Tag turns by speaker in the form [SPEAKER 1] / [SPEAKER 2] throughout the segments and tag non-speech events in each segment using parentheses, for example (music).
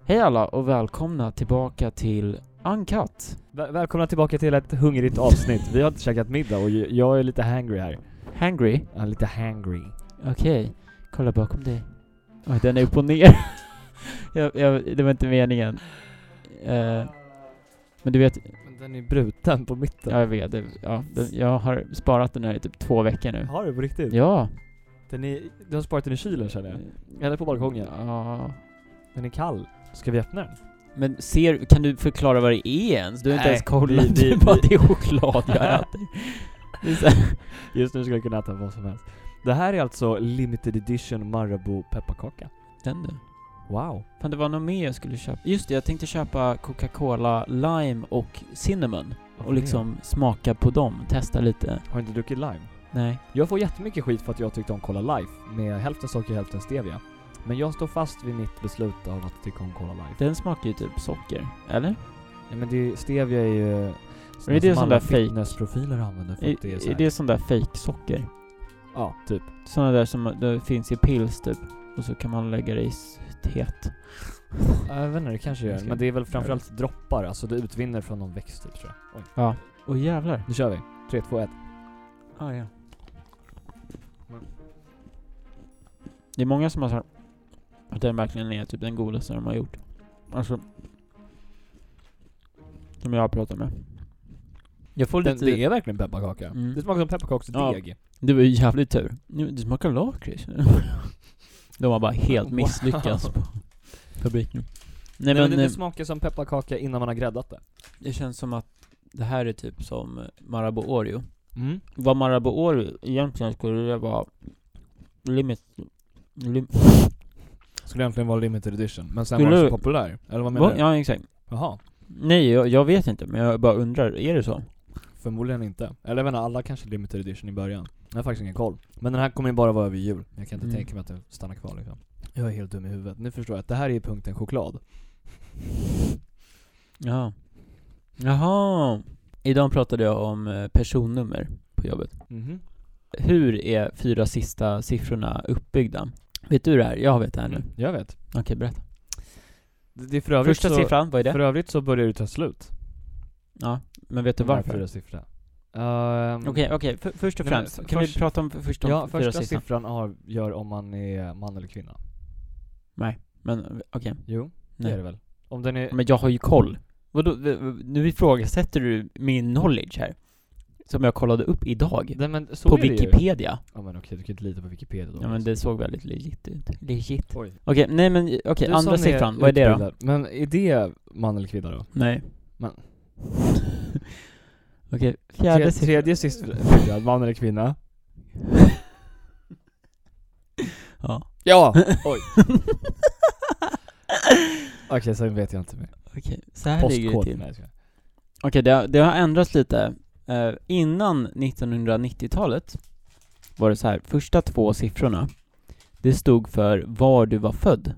[SPEAKER 1] Hej alla och välkomna tillbaka till Uncut.
[SPEAKER 2] Väl- Välkomna tillbaka till ett hungrigt avsnitt. Vi har inte käkat middag och j- jag är lite hangry här.
[SPEAKER 1] Hangry?
[SPEAKER 2] Ja, lite hangry.
[SPEAKER 1] Okej, kolla bakom dig. Oj, den är upp och ner. (laughs) jag, jag, det var inte meningen. Eh, men du vet,
[SPEAKER 2] Men den är (laughs) bruten på mitten.
[SPEAKER 1] ja, jag vet, det- ja, den- jag har sparat den här i typ två veckor nu.
[SPEAKER 2] Har du på riktigt?
[SPEAKER 1] Ja.
[SPEAKER 2] Den är, du har sparat den i kylen känner jag. Eller på balkongen.
[SPEAKER 1] Ja.
[SPEAKER 2] Den är kall. Ska vi öppna den?
[SPEAKER 1] Men ser, kan du förklara vad det är ens? Du har inte
[SPEAKER 2] Nej,
[SPEAKER 1] ens kollat.
[SPEAKER 2] vi- vi-
[SPEAKER 1] du bara,
[SPEAKER 2] vi-
[SPEAKER 1] det är choklad (laughs) jag äter. Det är så här-
[SPEAKER 2] (laughs) Just nu skulle jag kunna äta vad som helst. Det här är alltså limited edition Marabou pepparkaka.
[SPEAKER 1] Den du.
[SPEAKER 2] Wow.
[SPEAKER 1] Fan, det var något mer jag skulle köpa. Just det, jag tänkte köpa Coca-Cola Lime och Cinnamon. Och
[SPEAKER 2] Varför det?
[SPEAKER 1] liksom smaka på dem, testa lite.
[SPEAKER 2] Har du inte druckit lime?
[SPEAKER 1] Nej.
[SPEAKER 2] Jag får jättemycket skit för att jag tyckte om Cola Life med hälften socker och hälften stevia. Men jag står fast vid mitt beslut av att tycka om Cola Life.
[SPEAKER 1] Den smakar ju typ socker, eller?
[SPEAKER 2] Nej men det, stevia är ju...
[SPEAKER 1] Men är det sån där fake-
[SPEAKER 2] fitnessprofiler använder för
[SPEAKER 1] Är
[SPEAKER 2] att det är så
[SPEAKER 1] är
[SPEAKER 2] här.
[SPEAKER 1] det sån där fake socker?
[SPEAKER 2] Ja, typ.
[SPEAKER 1] Såna där som det finns i pills typ. Och så kan man lägga det i s-
[SPEAKER 2] (laughs)
[SPEAKER 1] teet.
[SPEAKER 2] Jag vet inte, det kanske
[SPEAKER 1] Jag
[SPEAKER 2] gör.
[SPEAKER 1] ska-
[SPEAKER 2] Men det är väl framförallt droppar, alltså det utvinner från någon växt typ tror jag. Oj.
[SPEAKER 1] Åh jävlar.
[SPEAKER 2] Nu kör vi. 3, 2, 1.
[SPEAKER 1] Ah, ja. Det är många som har sagt att den verkligen är typ den godaste de har gjort. Alltså... Som jag har pratat med. Jag får
[SPEAKER 2] Den,
[SPEAKER 1] lite...
[SPEAKER 2] det är verkligen pepparkaka.
[SPEAKER 1] Mm.
[SPEAKER 2] Det smakar som pepparkaksdeg.
[SPEAKER 1] Det var ju jävligt tur. Nu, det smakar lakrits. (laughs) De var bara helt
[SPEAKER 2] Wow.
[SPEAKER 1] misslyckats
[SPEAKER 2] (laughs)
[SPEAKER 1] på fabriken. Nej,
[SPEAKER 2] Nej, men,
[SPEAKER 1] men,
[SPEAKER 2] det,
[SPEAKER 1] eh,
[SPEAKER 2] det smakar som pepparkaka innan man har gräddat det.
[SPEAKER 1] det känns som att det här är typ som eh, Marabou Oreo.
[SPEAKER 2] Mm.
[SPEAKER 1] Vad Marabou Oreo egentligen skulle det vara limit... Lim,
[SPEAKER 2] Skulle egentligen vara limited edition, men sen
[SPEAKER 1] Skulle-
[SPEAKER 2] var den så populär. Eller vad menar
[SPEAKER 1] vad,
[SPEAKER 2] du?
[SPEAKER 1] ja exakt.
[SPEAKER 2] Jaha.
[SPEAKER 1] Nej jag, jag vet inte men jag bara undrar, är det så?
[SPEAKER 2] Förmodligen inte. Eller jag vet inte, alla kanske limited edition i början. Jag har faktiskt ingen koll. Men den här kommer ju bara vara över jul. Jag kan inte
[SPEAKER 1] Mm.
[SPEAKER 2] tänka mig att den stannar kvar liksom. Jag är helt dum i huvudet. Nu förstår jag att det här är ju punkten choklad.
[SPEAKER 1] Jaha. Jaha. Idag pratade jag om eh, personnummer på jobbet.
[SPEAKER 2] Mhm.
[SPEAKER 1] Hur är fyra sista siffrorna uppbyggda? Vet du det här? Jag vet det här nu.
[SPEAKER 2] Mm. Jag vet.
[SPEAKER 1] Okej, berätta.
[SPEAKER 2] Det det är för övrigt
[SPEAKER 1] Första
[SPEAKER 2] så,
[SPEAKER 1] siffran, vad är det?
[SPEAKER 2] För övrigt så börjar det ta slut.
[SPEAKER 1] Ja, men vet du
[SPEAKER 2] De här
[SPEAKER 1] varför?
[SPEAKER 2] Fyra siffror. Ehm,
[SPEAKER 1] Okej, okej, för- först och
[SPEAKER 2] Nej, men
[SPEAKER 1] främst,
[SPEAKER 2] f-
[SPEAKER 1] kan
[SPEAKER 2] först-
[SPEAKER 1] vi prata om f- först om
[SPEAKER 2] Ja,
[SPEAKER 1] fyra
[SPEAKER 2] första
[SPEAKER 1] siffran?
[SPEAKER 2] siffran har, gör om man är man eller kvinna.
[SPEAKER 1] Men okej,
[SPEAKER 2] Jo, det
[SPEAKER 1] Nej.
[SPEAKER 2] är det väl? Om den är...
[SPEAKER 1] men jag har ju koll. Vadå, v- v- nu ifrågasätter du min knowledge här. Som jag kollade upp idag.
[SPEAKER 2] Nej, men så
[SPEAKER 1] På
[SPEAKER 2] är det ju.
[SPEAKER 1] Wikipedia.
[SPEAKER 2] Ja men okej, du kan inte lita på Wikipedia då.
[SPEAKER 1] Ja men det såg väldigt legit ut. Legit.
[SPEAKER 2] Oj.
[SPEAKER 1] Okej, nej men okej,
[SPEAKER 2] Du
[SPEAKER 1] andra
[SPEAKER 2] som
[SPEAKER 1] siffran, vad är det då?
[SPEAKER 2] utbildad, Men är det man eller kvinna då?
[SPEAKER 1] Nej.
[SPEAKER 2] Men-
[SPEAKER 1] (laughs) okej, fjärde
[SPEAKER 2] Tre-
[SPEAKER 1] siffran. (laughs)
[SPEAKER 2] Tredje siffran, man eller kvinna?
[SPEAKER 1] Ja.
[SPEAKER 2] Ja! Oj. (laughs) Okej, sen vet jag inte mer.
[SPEAKER 1] (laughs) Okej, så här ligger det
[SPEAKER 2] Postkod.
[SPEAKER 1] till.
[SPEAKER 2] Nej, jag skojar.
[SPEAKER 1] Okej, det, har- det har ändrats lite. Eh, innan 1990-talet var det så här, första två siffrorna, det stod för var du var född.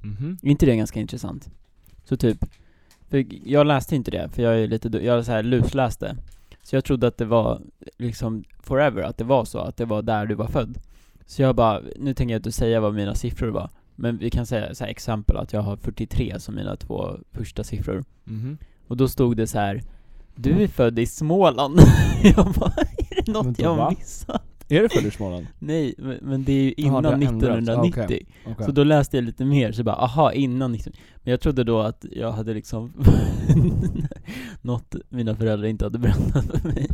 [SPEAKER 2] Mhm.
[SPEAKER 1] Är inte det ganska intressant? Så typ, för jag läste inte det, för jag är lite du- jag så här lusläste. Så jag trodde att det var liksom forever, att det var så, att det var där du var född. Så jag bara, nu tänker jag inte säga vad mina siffror var, men vi kan säga så här exempel att jag har 43 som mina två första siffror.
[SPEAKER 2] Mhm.
[SPEAKER 1] Och då stod det så här. Du är född i Småland. (laughs) jag bara, är det något
[SPEAKER 2] Vänta,
[SPEAKER 1] jag har
[SPEAKER 2] va?
[SPEAKER 1] missat?
[SPEAKER 2] Är det född
[SPEAKER 1] (laughs)
[SPEAKER 2] i Småland?
[SPEAKER 1] Nej, men, men det är ju
[SPEAKER 2] Jaha,
[SPEAKER 1] innan
[SPEAKER 2] det har ändrats.
[SPEAKER 1] 1990.
[SPEAKER 2] Okej, Okej.
[SPEAKER 1] Så då läste jag lite mer, så bara, aha, innan 1990. Men jag trodde då att jag hade liksom (laughs) något mina föräldrar inte hade berättat för mig.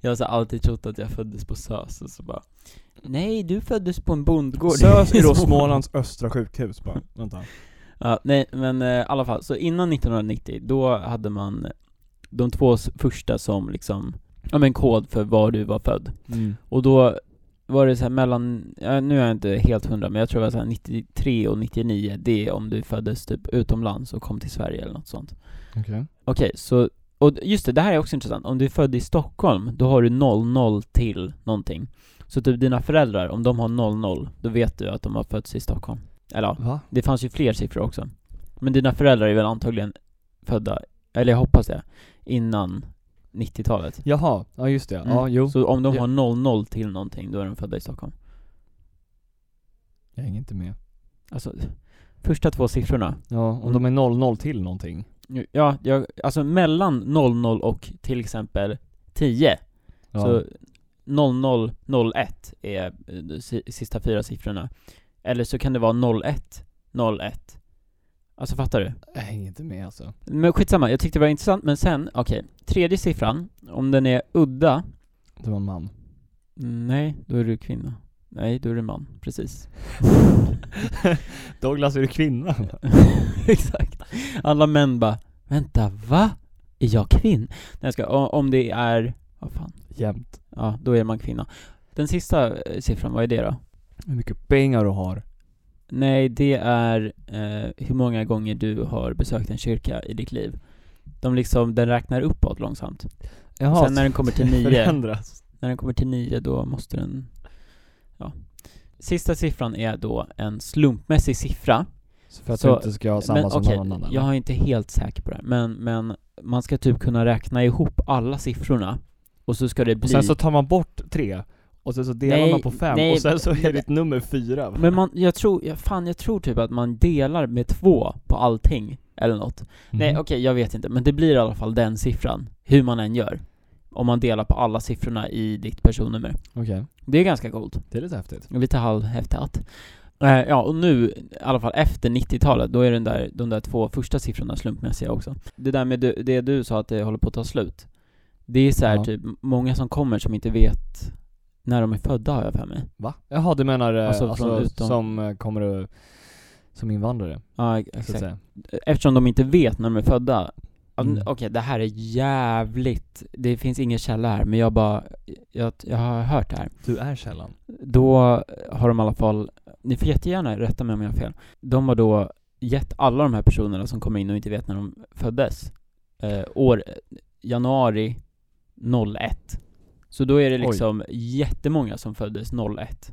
[SPEAKER 1] Jag har så alltid trott att jag föddes på SÖS och så bara, nej du föddes på en bondgård.
[SPEAKER 3] SÖS
[SPEAKER 1] i
[SPEAKER 3] är då
[SPEAKER 1] Småland." (laughs)
[SPEAKER 3] Smålands östra sjukhus bara. Vänta.
[SPEAKER 1] Ja, nej men eh, i alla fall, så innan 1990, då hade man de två s- första som liksom, ja men kod för var du var född.
[SPEAKER 2] Mm.
[SPEAKER 1] Och då var det så här mellan, ja, nu är jag inte helt hundra, men jag tror det var så här 93 och 99, det är om du föddes typ utomlands och kom till Sverige eller något sånt.
[SPEAKER 2] Okej.
[SPEAKER 1] Okej, så, och d- just det, det här är också intressant. Om du är född i Stockholm, då har du 00 till någonting. Så typ dina föräldrar, om de har 00, då vet du att de har fötts i Stockholm. Eller ja,
[SPEAKER 2] Va?
[SPEAKER 1] det fanns ju fler siffror också. Men dina föräldrar är väl antagligen födda, eller jag hoppas det, innan 90-talet.
[SPEAKER 2] Jaha, ja just det. Ja,
[SPEAKER 1] Mm.
[SPEAKER 2] jo.
[SPEAKER 1] Så om de
[SPEAKER 2] Ja.
[SPEAKER 1] har 00 till någonting, då är de födda i Stockholm.
[SPEAKER 2] Jag hänger inte med.
[SPEAKER 1] Alltså, första två siffrorna.
[SPEAKER 2] Ja, om
[SPEAKER 1] Mm.
[SPEAKER 2] de är 00 till någonting.
[SPEAKER 1] Ja, jag, alltså mellan 00 och till exempel 10,
[SPEAKER 2] Ja.
[SPEAKER 1] så 0001 är eh, de si- sista fyra siffrorna. Eller så kan det vara 01, 01. Alltså fattar du?
[SPEAKER 2] jag hänger inte med alltså.
[SPEAKER 1] Men skitsamma, jag tyckte det var intressant, men sen, okej. Tredje siffran, om den är udda,
[SPEAKER 2] Det var en man.
[SPEAKER 1] mm, nej, då är du kvinna. Nej, då är du man, precis. (laughs)
[SPEAKER 2] Douglas, är du kvinna?
[SPEAKER 1] Exakt. Alla män bara, vänta, va? Är jag kvinn? Nej jag ska, o- om det är, vad fan,
[SPEAKER 2] (laughs) Jämt.
[SPEAKER 1] ja då är man kvinna. Den sista eh, siffran, vad är det då?
[SPEAKER 2] Hur mycket pengar du har.
[SPEAKER 1] Nej, det är eh, hur många gånger du har besökt en kyrka i ditt liv. De liksom, den räknar uppåt långsamt.
[SPEAKER 2] Jaha,
[SPEAKER 1] Sen när den kommer till nio, (laughs)
[SPEAKER 2] (laughs) förändras.
[SPEAKER 1] när den kommer till nio då måste den, ja. Sista siffran är då en slumpmässig siffra.
[SPEAKER 2] Så för att
[SPEAKER 1] Så-
[SPEAKER 2] du inte ska ha samma som
[SPEAKER 1] okej,
[SPEAKER 2] någon annan.
[SPEAKER 1] jag är inte helt säker på det här, men, men man ska typ kunna räkna ihop alla siffrorna och så ska det bli...
[SPEAKER 2] Och sen så tar man bort tre, och sen så delar
[SPEAKER 1] Nej,
[SPEAKER 2] man på fem,
[SPEAKER 1] nej,
[SPEAKER 2] och sen så
[SPEAKER 1] men-
[SPEAKER 2] är ditt nummer fyra.
[SPEAKER 1] Men man, jag tror, jag, fan jag tror typ att man delar med två på allting, eller något. Nej
[SPEAKER 2] Mm. Mhm.
[SPEAKER 1] okej, jag vet inte, men det blir i alla fall den siffran, hur man än gör. Om man delar på alla siffrorna i ditt personnummer.
[SPEAKER 2] Okej.
[SPEAKER 1] Det är ganska coolt.
[SPEAKER 2] Det är lite häftigt.
[SPEAKER 1] Lite halvhäftat. Eh, ja, och nu, i alla fall efter 90-talet, då är den där, de där två första siffrorna slumpmässiga också. Det där med du, det du sa att det håller på att ta slut. Det är så här
[SPEAKER 2] Ja.
[SPEAKER 1] typ, många som kommer som inte vet när de är födda har jag för mig.
[SPEAKER 2] Va? Jaha, du menar eh,
[SPEAKER 1] Alltså
[SPEAKER 2] alltså,
[SPEAKER 1] från utom-
[SPEAKER 2] som eh, kommer att, som invandrare,
[SPEAKER 1] Ja,
[SPEAKER 2] så att
[SPEAKER 1] exakt.
[SPEAKER 2] säga.
[SPEAKER 1] Eftersom de inte vet när de är födda. Ja,
[SPEAKER 2] Mm.
[SPEAKER 1] Okej, det här är jävligt, det finns ingen källa här, men jag bara, jag, jag har hört det här.
[SPEAKER 2] Du
[SPEAKER 1] (laughs)
[SPEAKER 2] är källan.
[SPEAKER 1] Då har de i alla fall, ni får jättegärna rätta mig om jag har fel, de har då gett alla de här personerna som kommer in och inte vet när de föddes, eh, år, januari 01. Så då är det
[SPEAKER 2] Oj.
[SPEAKER 1] liksom jättemånga som föddes 01.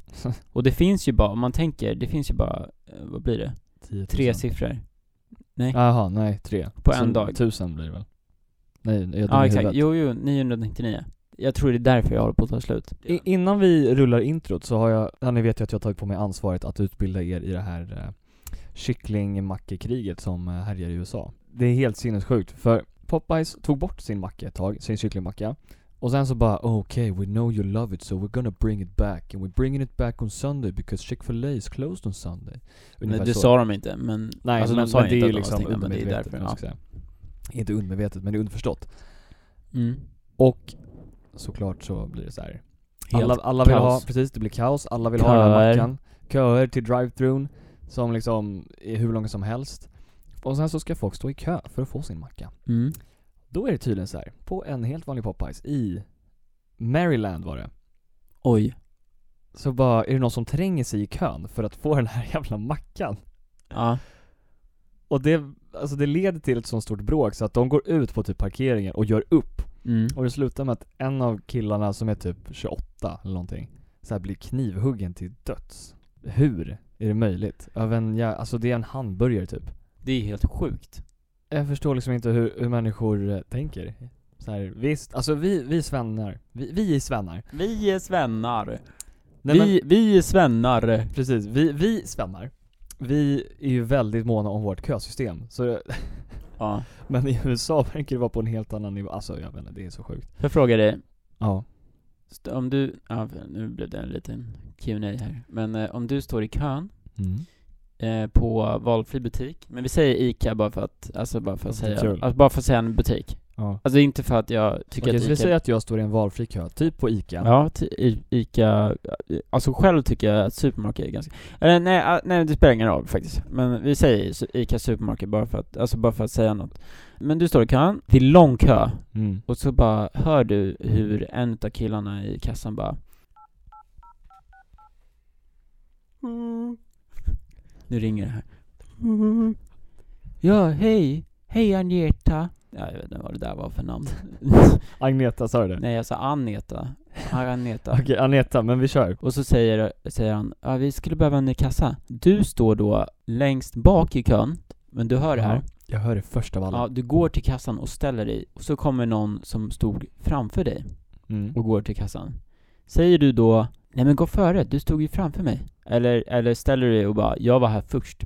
[SPEAKER 1] Och det finns ju bara, om man tänker, det finns ju bara, eh, vad blir det?
[SPEAKER 2] 10 000.
[SPEAKER 1] Tre siffror.
[SPEAKER 2] Jaha, nej, tre.
[SPEAKER 1] På en dag.
[SPEAKER 2] Tusen blir det väl? Nej, jag är
[SPEAKER 1] Ja
[SPEAKER 2] dum i
[SPEAKER 1] exakt,
[SPEAKER 2] huvudet.
[SPEAKER 1] jo jo, 999. Jag tror det är därför jag håller på att ta slut.
[SPEAKER 2] I, innan vi rullar introt så har jag, ja, ni vet ju att jag har tagit på mig ansvaret att utbilda er i det här eh, kycklingmackekriget som eh, härjar i USA. Det är helt sinnessjukt för Popeyes tog bort sin macka ett tag, sin kycklingmacka. Och sen så bara okej, okay, we know you love it so we're gonna bring it back and we're bringing it back on Sunday because Chick-fil-A is closed on Sunday.
[SPEAKER 1] Nej,
[SPEAKER 2] Ungefär
[SPEAKER 1] det
[SPEAKER 2] så.
[SPEAKER 1] sa de inte, men,
[SPEAKER 2] Nej,
[SPEAKER 1] alltså,
[SPEAKER 2] men,
[SPEAKER 1] de sa
[SPEAKER 2] men
[SPEAKER 1] inte
[SPEAKER 2] det
[SPEAKER 1] att
[SPEAKER 2] är ju
[SPEAKER 1] de var
[SPEAKER 2] liksom
[SPEAKER 1] stängda, men det är
[SPEAKER 2] undermedvetet.
[SPEAKER 1] därför.
[SPEAKER 2] eller vad
[SPEAKER 1] Ja.
[SPEAKER 2] man ska säga. Inte undermedvetet, men det är underförstått.
[SPEAKER 1] Mm.
[SPEAKER 2] Och såklart så blir det så här.
[SPEAKER 1] Helt
[SPEAKER 2] alla, alla vill ha,
[SPEAKER 1] kaos.
[SPEAKER 2] precis det blir kaos, alla vill ha den här
[SPEAKER 1] Köer.
[SPEAKER 2] mackan. Köer till drive-thrun som liksom är hur långa som helst. Och sen så ska folk stå i kö för att få sin macka.
[SPEAKER 1] Mm.
[SPEAKER 2] Då är det tydligen så här. på en helt vanlig Popeyes i Maryland var det.
[SPEAKER 1] Oj.
[SPEAKER 2] Så bara, är det någon som tränger sig i kön för att få den här (laughs) jävla mackan?
[SPEAKER 1] Ja.
[SPEAKER 2] Och det, alltså det leder till ett sånt stort bråk så att de går ut på typ parkeringen och gör upp.
[SPEAKER 1] Mm.
[SPEAKER 2] Och det slutar med att en av killarna som är typ 28 eller någonting så här blir knivhuggen till döds. Hur är det möjligt? Av en, ja, alltså det är en hamburgare typ.
[SPEAKER 1] Det är helt sjukt.
[SPEAKER 2] Jag förstår liksom inte hur, hur människor eh, tänker. Så här, visst, alltså vi, vi svennar. Vi, vi är svennar.
[SPEAKER 1] Vi är svennar.
[SPEAKER 2] Nej, men-
[SPEAKER 1] vi, vi är svennar.
[SPEAKER 2] Precis, vi, vi svennar. Vi är ju väldigt måna om vårt kösystem. Så, (laughs)
[SPEAKER 1] Ja.
[SPEAKER 2] men i USA verkar det vara på en helt annan nivå. Alltså jag vet inte, det är så sjukt.
[SPEAKER 1] Får jag fråga dig,
[SPEAKER 2] Ja.
[SPEAKER 1] st- om du, ja, nu blev det en liten Q&A här, men eh, om du står i kön
[SPEAKER 2] Mm.
[SPEAKER 1] eh, på valfri butik, men vi säger ICA bara för att, alltså bara för att
[SPEAKER 2] Ja, det är
[SPEAKER 1] säga,
[SPEAKER 2] kul.
[SPEAKER 1] alltså bara för att säga en butik.
[SPEAKER 2] ja.
[SPEAKER 1] Alltså inte för att jag tycker
[SPEAKER 2] Okej,
[SPEAKER 1] att
[SPEAKER 2] så
[SPEAKER 1] ICA
[SPEAKER 2] vi säger att jag står i en valfri kö, typ på ICA.
[SPEAKER 1] Ja, ty- I- Ica, alltså själv tycker jag att supermarket är ganska, eller nej, ah, nej det spelar ingen roll faktiskt. Men vi säger su- Ica supermarket bara för att, alltså bara för att säga något. Men du står i kön, det är lång kö,
[SPEAKER 2] Mm.
[SPEAKER 1] och så bara hör du hur en av killarna i kassan bara Nu ringer det här. Ja, hej, hej Agneta. Ja, jag vet inte vad det där var för namn.
[SPEAKER 2] Agneta, sa du det?
[SPEAKER 1] nej, jag sa Aneta. Agneta.
[SPEAKER 2] Okej, Agneta, men vi kör.
[SPEAKER 1] Och så säger, säger han, ja vi skulle behöva en ny kassa. Du står då längst bak i kön, men du hör det här.
[SPEAKER 2] Jag hör det först av alla.
[SPEAKER 1] Ja, du går till kassan och ställer dig, och så kommer någon som stod framför dig
[SPEAKER 2] Mm.
[SPEAKER 1] och går till kassan. Säger du då, nej men gå före, du stod ju framför mig. Eller, eller ställer du dig och bara, jag var här först.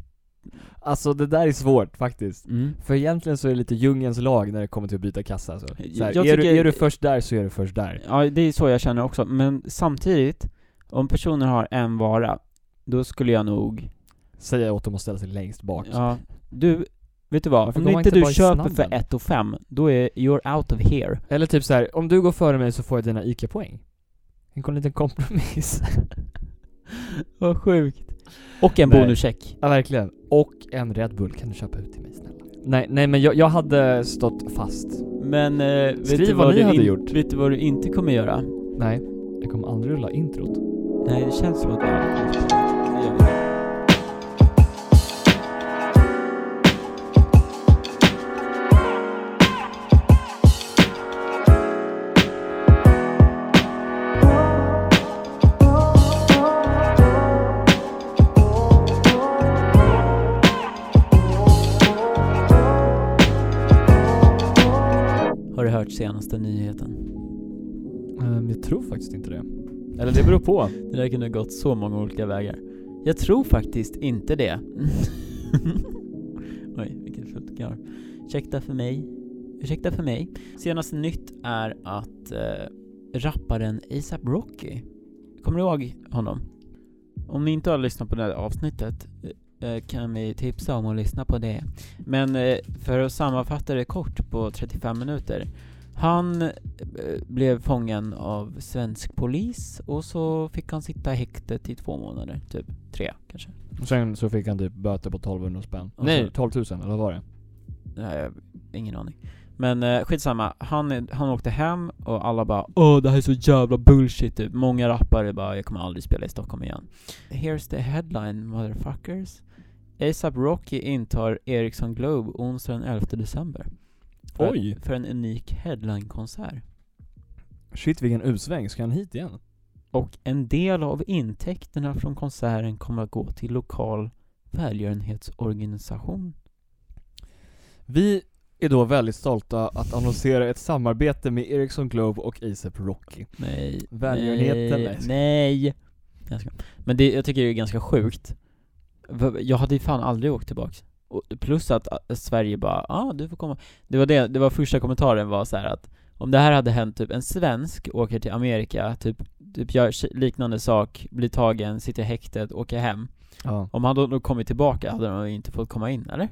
[SPEAKER 2] Alltså det där är svårt faktiskt.
[SPEAKER 1] Mm.
[SPEAKER 2] För egentligen så är det lite djungelns lag när det kommer till att byta kassa alltså.
[SPEAKER 1] Jag-
[SPEAKER 2] så här,
[SPEAKER 1] jag
[SPEAKER 2] är, du,
[SPEAKER 1] tycker-
[SPEAKER 2] är du först där så är du först där.
[SPEAKER 1] Ja, det är så jag känner också, men samtidigt, om personen har en vara, då skulle jag nog,
[SPEAKER 2] Säga åt dem att ställa sig längst bak.
[SPEAKER 1] ja, du, vet du vad?
[SPEAKER 2] Varför
[SPEAKER 1] Om
[SPEAKER 2] går man
[SPEAKER 1] inte
[SPEAKER 2] inte
[SPEAKER 1] du
[SPEAKER 2] bara i
[SPEAKER 1] köper för
[SPEAKER 2] snabben?
[SPEAKER 1] 1 och 5, då är you're out of
[SPEAKER 2] (laughs)
[SPEAKER 1] here.
[SPEAKER 2] Eller typ så här, om du går före mig så får jag dina ICA-poäng. En liten kompromiss.
[SPEAKER 1] Vad sjukt. Och en
[SPEAKER 2] Nej.
[SPEAKER 1] bonuscheck.
[SPEAKER 2] (laughs) Ja verkligen. Och en Red Bull kan du köpa ut till mig snälla. Nej, nej men jag, jag hade stått fast.
[SPEAKER 1] Men eh, vet,
[SPEAKER 2] Skriv
[SPEAKER 1] du
[SPEAKER 2] vad
[SPEAKER 1] vad
[SPEAKER 2] ni
[SPEAKER 1] du
[SPEAKER 2] hade
[SPEAKER 1] in-
[SPEAKER 2] gjort.
[SPEAKER 1] vet du vad du inte kommer göra?
[SPEAKER 2] Nej, jag kommer aldrig rulla introt.
[SPEAKER 1] Nej, det känns som att det är lite konstigt. Det gör vi inte. Har du hört senaste nyheten?
[SPEAKER 2] Um, jag tror faktiskt inte det. Eller det beror på.
[SPEAKER 1] Det där kunde ha gått så många olika vägar. Jag tror faktiskt inte det. (laughs) Oj, vilket fult garv. Ursäkta för mig. Ursäkta för mig. Senaste nytt är att eh, rapparen ASAP Rocky, kommer du ihåg honom? Om ni inte har lyssnat på det här avsnittet eh, kan vi tipsa om att lyssna på det. Men eh, för att sammanfatta det kort på 35 minuter. Han eh, blev fången av svensk polis och så fick han sitta häktet i två månader, typ tre kanske.
[SPEAKER 2] Och sen så fick han typ böter på 1200 spänn.
[SPEAKER 1] Och
[SPEAKER 2] Nej,
[SPEAKER 1] så-
[SPEAKER 2] 12 000 eller vad var det?
[SPEAKER 1] Nej, jag har ingen aning. Men eh, skitsamma, han, han åkte hem och alla bara Åh det här är så jävla bullshit typ. Många rappare bara jag kommer aldrig spela i Stockholm igen. Here's the headline motherfuckers. ASAP Rocky intar Ericsson Globe onsdag den 11 december. För,
[SPEAKER 2] Oj.
[SPEAKER 1] För en unik headline-konsert.
[SPEAKER 2] Shit vilken usväng, ska han hit igen?
[SPEAKER 1] Och en del av intäkterna från konserten kommer att gå till lokal välgörenhetsorganisation.
[SPEAKER 2] Vi är då väldigt stolta att annonsera ett samarbete med Ericsson Globe och ASAP Rocky.
[SPEAKER 1] Nej.
[SPEAKER 2] Välgörenheten, nej.
[SPEAKER 1] Nej. nej. Jag skojar. Men det, jag tycker det är ganska sjukt. V- Jag hade ju fan aldrig åkt tillbaks. Och plus att ä, Sverige bara, ja ah, du får komma. Det var det, det var första kommentaren var så här att om det här hade hänt typ en svensk åker till Amerika, typ, typ gör ki- liknande sak, blir tagen, sitter i häktet, åker hem.
[SPEAKER 2] Ja.
[SPEAKER 1] Om han då då kommit tillbaka hade de inte fått komma in, eller?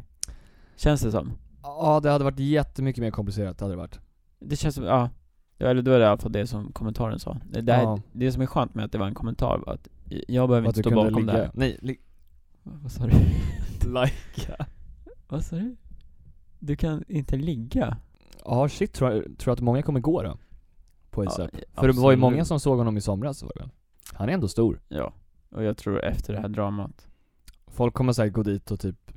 [SPEAKER 1] Känns det som.
[SPEAKER 2] Ja, det hade varit jättemycket mer komplicerat, det hade det varit.
[SPEAKER 1] Det känns som, ja. Ja, Eller då är det i alla fall det som kommentaren sa. Det, det, här,
[SPEAKER 2] Ja.
[SPEAKER 1] det som är skönt med att det var en kommentar var att jag behöver
[SPEAKER 2] Att
[SPEAKER 1] inte
[SPEAKER 2] du
[SPEAKER 1] stå
[SPEAKER 2] kunde
[SPEAKER 1] bakom det här.
[SPEAKER 2] Nej, li-
[SPEAKER 1] Vad sa du?
[SPEAKER 2] Lajka.
[SPEAKER 1] Vad sa du? Du kan inte ligga?
[SPEAKER 2] Ja, shit tror jag, tror jag att många kommer gå då. På ASAP.
[SPEAKER 1] Ja,
[SPEAKER 2] För det var ju
[SPEAKER 1] absolut.
[SPEAKER 2] många som såg honom i somras var det väl? Han är ändå stor.
[SPEAKER 1] Ja. Och jag tror efter det här dramat.
[SPEAKER 2] Folk kommer säkert gå dit och typ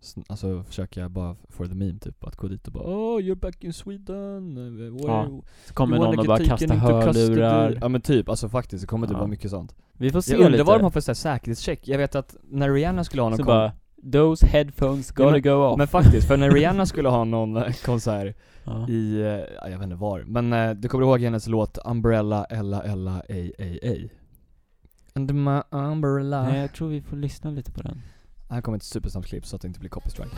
[SPEAKER 2] sn- Alltså försöka bara for the meme typ, att gå dit och bara Oh you're back in Sweden, where
[SPEAKER 1] Ja,
[SPEAKER 2] you
[SPEAKER 1] Så kommer
[SPEAKER 2] wanna
[SPEAKER 1] någon och
[SPEAKER 2] get
[SPEAKER 1] bara
[SPEAKER 2] taken
[SPEAKER 1] kasta
[SPEAKER 2] into custody?"
[SPEAKER 1] hörlurar.
[SPEAKER 2] Ja men typ, alltså faktiskt, det kommer typ
[SPEAKER 1] Ja.
[SPEAKER 2] vara mycket sånt
[SPEAKER 1] Vi får se
[SPEAKER 2] Jag undrar
[SPEAKER 1] lite.
[SPEAKER 2] vad de har för så här säkerhetscheck, jag vet att när Rihanna skulle ha någon
[SPEAKER 1] Så
[SPEAKER 2] kon-
[SPEAKER 1] bara, those headphones gotta
[SPEAKER 2] men-
[SPEAKER 1] go off.
[SPEAKER 2] Men faktiskt,
[SPEAKER 1] (laughs)
[SPEAKER 2] för när Rihanna skulle ha någon eh, konsert
[SPEAKER 1] ja.
[SPEAKER 2] i, eh, ja, jag vet inte var, men eh, du kommer ihåg hennes låt 'Umbrella Ella Ella A A A' Under my umbrella
[SPEAKER 1] Nej, jag tror vi får lyssna lite på den.
[SPEAKER 2] Här kommer ett supersnabbt klipp så att det inte blir copystrike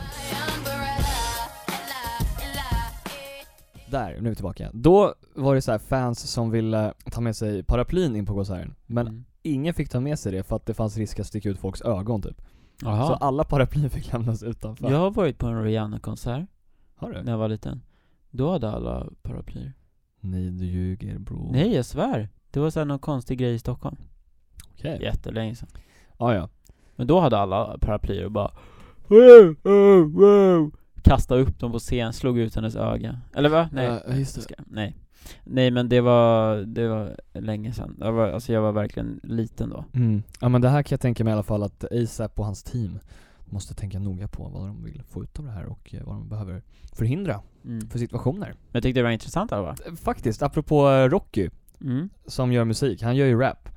[SPEAKER 2] Där, nu är vi tillbaka. Då var det så här fans som ville ta med sig paraplyn in på konserten, men
[SPEAKER 1] Mm.
[SPEAKER 2] ingen fick ta med sig det för att det fanns risk att sticka ut folks ögon typ. Så
[SPEAKER 1] Jaha.
[SPEAKER 2] alla paraplyer fick lämnas utanför.
[SPEAKER 1] Jag har varit på en Rihanna-konsert
[SPEAKER 2] Har du?
[SPEAKER 1] när jag var liten. Då hade alla paraplyer.
[SPEAKER 2] Nej du ljuger bro.
[SPEAKER 1] Nej, jag svär. Det var såhär någon konstig grej i Stockholm.
[SPEAKER 2] Okej.
[SPEAKER 1] Jättelänge sedan.
[SPEAKER 2] Ah, ja.
[SPEAKER 1] Men då hade alla paraplyer och bara wow, wow, wow. Kastade upp dem på scen, slog ut hennes öga. Eller va? Nej.
[SPEAKER 2] Ja, just det.
[SPEAKER 1] Ska- Nej. Nej men det var, det var länge sedan. Jag var, alltså jag var verkligen liten då.
[SPEAKER 2] Mm. Ja men det här kan jag tänka mig i alla fall att ASAP och hans team måste tänka noga på vad de vill få ut av det här och eh, vad de behöver förhindra
[SPEAKER 1] Mm. Men
[SPEAKER 2] för situationer.
[SPEAKER 1] jag tyckte det var intressant i alla fall.
[SPEAKER 2] Eh, Faktiskt, apropå eh, Rocky
[SPEAKER 1] Mm.
[SPEAKER 2] som gör musik, han gör ju rap.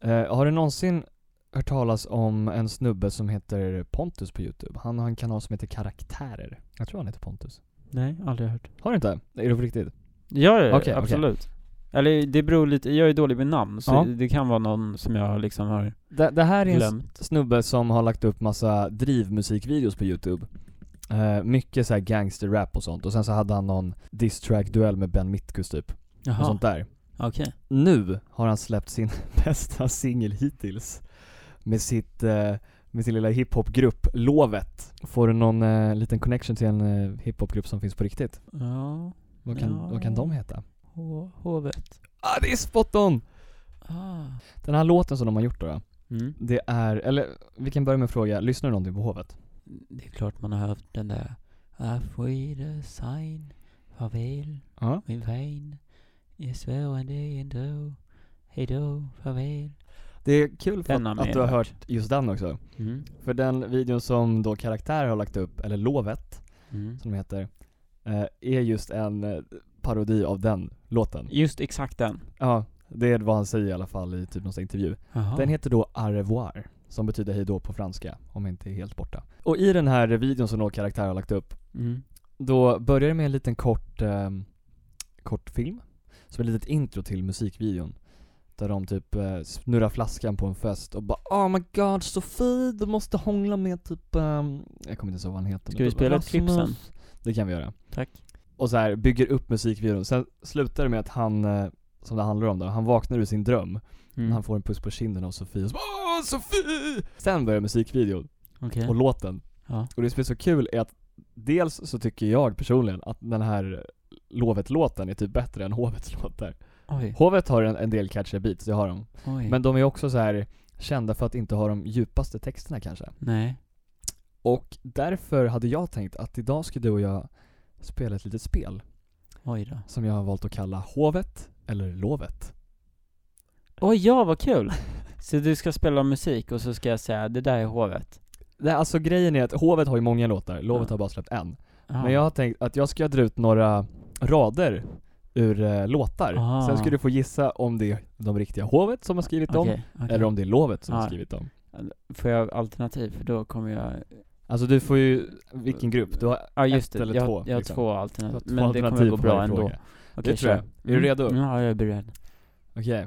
[SPEAKER 2] Eh, har du någonsin hört talas om en snubbe som heter Pontus på youtube? Han har en kanal som heter Karaktärer. Jag tror han heter Pontus.
[SPEAKER 1] Nej, aldrig hört.
[SPEAKER 2] Har du inte? Är det på riktigt?
[SPEAKER 1] Ja, ja, ja,
[SPEAKER 2] Okej, okej.
[SPEAKER 1] absolut. Eller det beror lite, jag är dålig med namn, så
[SPEAKER 2] Ja.
[SPEAKER 1] det kan vara någon som jag liksom har
[SPEAKER 2] Det, det här är en s-
[SPEAKER 1] glömt.
[SPEAKER 2] snubbe som har lagt upp massa drivmusikvideos på youtube Eh, Mycket såhär gangsterrap och sånt och sen så hade han någon diss-track-duell med Ben Mitkus typ, och
[SPEAKER 1] Jaha,
[SPEAKER 2] sånt där
[SPEAKER 1] okej.
[SPEAKER 2] Nu har han släppt sin (laughs) bästa singel hittills Med sitt, eh, med sin lilla hiphopgrupp Lovet Får du någon eh, liten connection till en eh, hiphopgrupp som finns på riktigt?
[SPEAKER 1] Ja,
[SPEAKER 2] Vad kan,
[SPEAKER 1] Ja.
[SPEAKER 2] vad kan de heta?
[SPEAKER 1] H- hovet.
[SPEAKER 2] Ah det är spot on!
[SPEAKER 1] Ah.
[SPEAKER 2] Den här låten som de har gjort då, då
[SPEAKER 1] Mm.
[SPEAKER 2] det är, eller vi kan börja med att fråga, lyssnar du någonting på Hovet?
[SPEAKER 1] Det är klart man har hört den där Afwida sign, farväl,
[SPEAKER 2] Ja
[SPEAKER 1] min vän. Jag svär en dig ändå, hejdå, farväl.
[SPEAKER 2] Det är kul för
[SPEAKER 1] Den har
[SPEAKER 2] att,
[SPEAKER 1] man
[SPEAKER 2] att
[SPEAKER 1] ju
[SPEAKER 2] du har
[SPEAKER 1] hört.
[SPEAKER 2] hört just den också
[SPEAKER 1] Mm.
[SPEAKER 2] För den videon som då karaktär har lagt upp, eller Lovet
[SPEAKER 1] Mm.
[SPEAKER 2] som de heter eh, Är just en eh, parodi av den låten
[SPEAKER 1] Just exakt den.
[SPEAKER 2] Ja, det är vad han säger i alla fall i typ någon sån här intervju.
[SPEAKER 1] Jaha.
[SPEAKER 2] Den heter då Au revoir, som betyder hejdå på franska, om jag inte är helt borta. Och i den här videon som någon karaktär har lagt upp,
[SPEAKER 1] mm.
[SPEAKER 2] då börjar det med en liten kort, ehm, kort film, som är ett litet intro till musikvideon. Där de typ eh, snurrar flaskan på en fest och bara 'Oh my god Sofie, du måste hångla med typ' ehm," Jag kommer inte ihåg vad han heter nu.
[SPEAKER 1] Ska vi spela ett klipp sen?
[SPEAKER 2] Rasmus. Det kan vi göra
[SPEAKER 1] Tack.
[SPEAKER 2] och så här bygger upp musikvideon. Sen slutar det med att han, eh, som det handlar om då, han vaknar ur sin dröm.
[SPEAKER 1] Mm.
[SPEAKER 2] Han får en puss på kinden av Sofie och så bara, Åh, Sofie! Sen börjar musikvideon
[SPEAKER 1] Okej.
[SPEAKER 2] och låten.
[SPEAKER 1] Ja.
[SPEAKER 2] Och det som är så kul är att dels så tycker jag personligen att den här Lovet-låten är typ bättre än Hovets låtar.
[SPEAKER 1] Oj.
[SPEAKER 2] Hovet har en, en del catchiga beats, det har de.
[SPEAKER 1] Oj.
[SPEAKER 2] Men de är också så här kända för att inte ha de djupaste texterna kanske.
[SPEAKER 1] Nej.
[SPEAKER 2] Och därför hade jag tänkt att idag ska du och jag spela ett litet spel.
[SPEAKER 1] Oj då.
[SPEAKER 2] som jag har valt att kalla Hovet eller Lovet.
[SPEAKER 1] Oj, ja vad kul! Så du ska spela musik och så ska jag säga det där är hovet?
[SPEAKER 2] Nej, alltså grejen är att Hovet har ju många låtar, Lovet
[SPEAKER 1] Ja.
[SPEAKER 2] har bara släppt en.
[SPEAKER 1] Ja.
[SPEAKER 2] Men jag har tänkt att jag ska dra ut några rader ur eh, låtar.
[SPEAKER 1] Ah.
[SPEAKER 2] Sen ska du få gissa om det är de riktiga Hovet som har skrivit dem,
[SPEAKER 1] Okej, okej.
[SPEAKER 2] eller om det är Lovet som har
[SPEAKER 1] Ah.
[SPEAKER 2] skrivit dem.
[SPEAKER 1] Får jag alternativ? För då kommer jag...
[SPEAKER 2] Alltså du får ju, vilken grupp? Du har
[SPEAKER 1] Ja just
[SPEAKER 2] Ett
[SPEAKER 1] det,
[SPEAKER 2] eller
[SPEAKER 1] jag,
[SPEAKER 2] två,
[SPEAKER 1] jag har
[SPEAKER 2] liksom.
[SPEAKER 1] två
[SPEAKER 2] du har
[SPEAKER 1] alternativ.
[SPEAKER 2] två
[SPEAKER 1] Men det kommer
[SPEAKER 2] alternativ
[SPEAKER 1] gå
[SPEAKER 2] på
[SPEAKER 1] bra
[SPEAKER 2] varje
[SPEAKER 1] ändå.
[SPEAKER 2] fråga.
[SPEAKER 1] Okej,
[SPEAKER 2] Det tror
[SPEAKER 1] kör.
[SPEAKER 2] jag. Är du redo?
[SPEAKER 1] Mm, ja, jag är beredd.
[SPEAKER 2] Okej.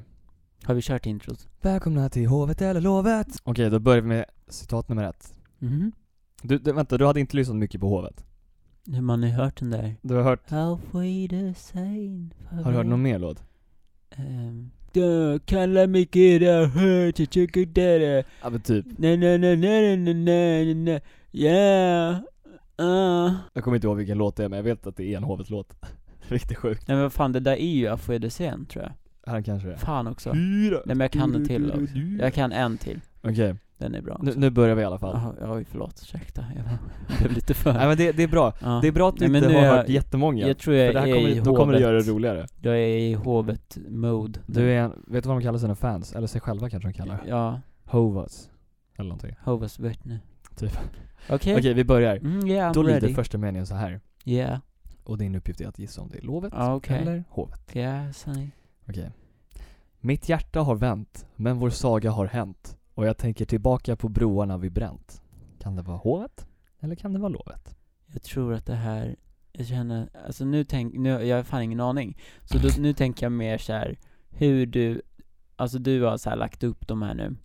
[SPEAKER 1] Har vi kört introt?
[SPEAKER 2] Välkomna till Hovet eller Lovet. Okej, då börjar vi med citat nummer ett.
[SPEAKER 1] Mhm.
[SPEAKER 2] Du, du, vänta, du hade inte lyssnat mycket på Hovet?
[SPEAKER 1] Nu man har ju hört den där.
[SPEAKER 2] Du har hört,
[SPEAKER 1] How we the same
[SPEAKER 2] har du hört någon mer låt?
[SPEAKER 1] Um, kalla mig kira, hört, jag tycker det
[SPEAKER 2] Ja men typ,
[SPEAKER 1] Nej, nej, nej, nej, nej, nej, nej, nej, yeah, uh.
[SPEAKER 2] Jag kommer inte ihåg vilken låt det är men jag vet att det är en Hovet-låt. (laughs) Riktigt sjukt.
[SPEAKER 1] Nej men vad fan, det där är ju Afoedesen tror jag.
[SPEAKER 2] Han kanske det är.
[SPEAKER 1] Fan också.
[SPEAKER 2] Fyra.
[SPEAKER 1] Nej men jag kan en till också. Jag kan en till.
[SPEAKER 2] Okej,
[SPEAKER 1] Den är bra
[SPEAKER 2] nu,
[SPEAKER 1] också.
[SPEAKER 2] nu börjar vi i alla fall.
[SPEAKER 1] Jaha, Oj, förlåt, ursäkta. Jag var- (laughs) blev lite för...
[SPEAKER 2] Nej men det, det är bra.
[SPEAKER 1] Ja.
[SPEAKER 2] Det är bra att du
[SPEAKER 1] Nej, men
[SPEAKER 2] inte
[SPEAKER 1] nu
[SPEAKER 2] har
[SPEAKER 1] är jag-
[SPEAKER 2] hört jättemånga.
[SPEAKER 1] Jag tror
[SPEAKER 2] för
[SPEAKER 1] jag
[SPEAKER 2] det här
[SPEAKER 1] är i
[SPEAKER 2] kommer, då kommer det
[SPEAKER 1] hovet.
[SPEAKER 2] göra det roligare.
[SPEAKER 1] Jag är i hovet-mode.
[SPEAKER 2] Du är en, vet du vad de kallar sina fans? Eller sig själva kanske de kallar det?
[SPEAKER 1] Ja,
[SPEAKER 2] Hovas. Eller någonting.
[SPEAKER 1] hovets vittne.
[SPEAKER 2] Typ.
[SPEAKER 1] Okej.
[SPEAKER 2] Okej, vi börjar.
[SPEAKER 1] Mm, yeah, I'm
[SPEAKER 2] Då lyder
[SPEAKER 1] ready.
[SPEAKER 2] första meningen så här.
[SPEAKER 1] Yeah,
[SPEAKER 2] Och din uppgift är att gissa om det är lovet
[SPEAKER 1] Ja, okej.
[SPEAKER 2] eller hovet.
[SPEAKER 1] yeah, sonny.
[SPEAKER 2] Okej. Mitt hjärta har vänt, men vår saga har hänt. Och jag tänker tillbaka på broarna vi bränt. Kan det vara hovet? Eller kan det vara lovet?
[SPEAKER 1] Jag tror att det här, jag känner, alltså nu tänk, nu, jag har fan ingen aning. Så då, nu tänker jag mer så här hur du, alltså du har så här lagt upp de här nu.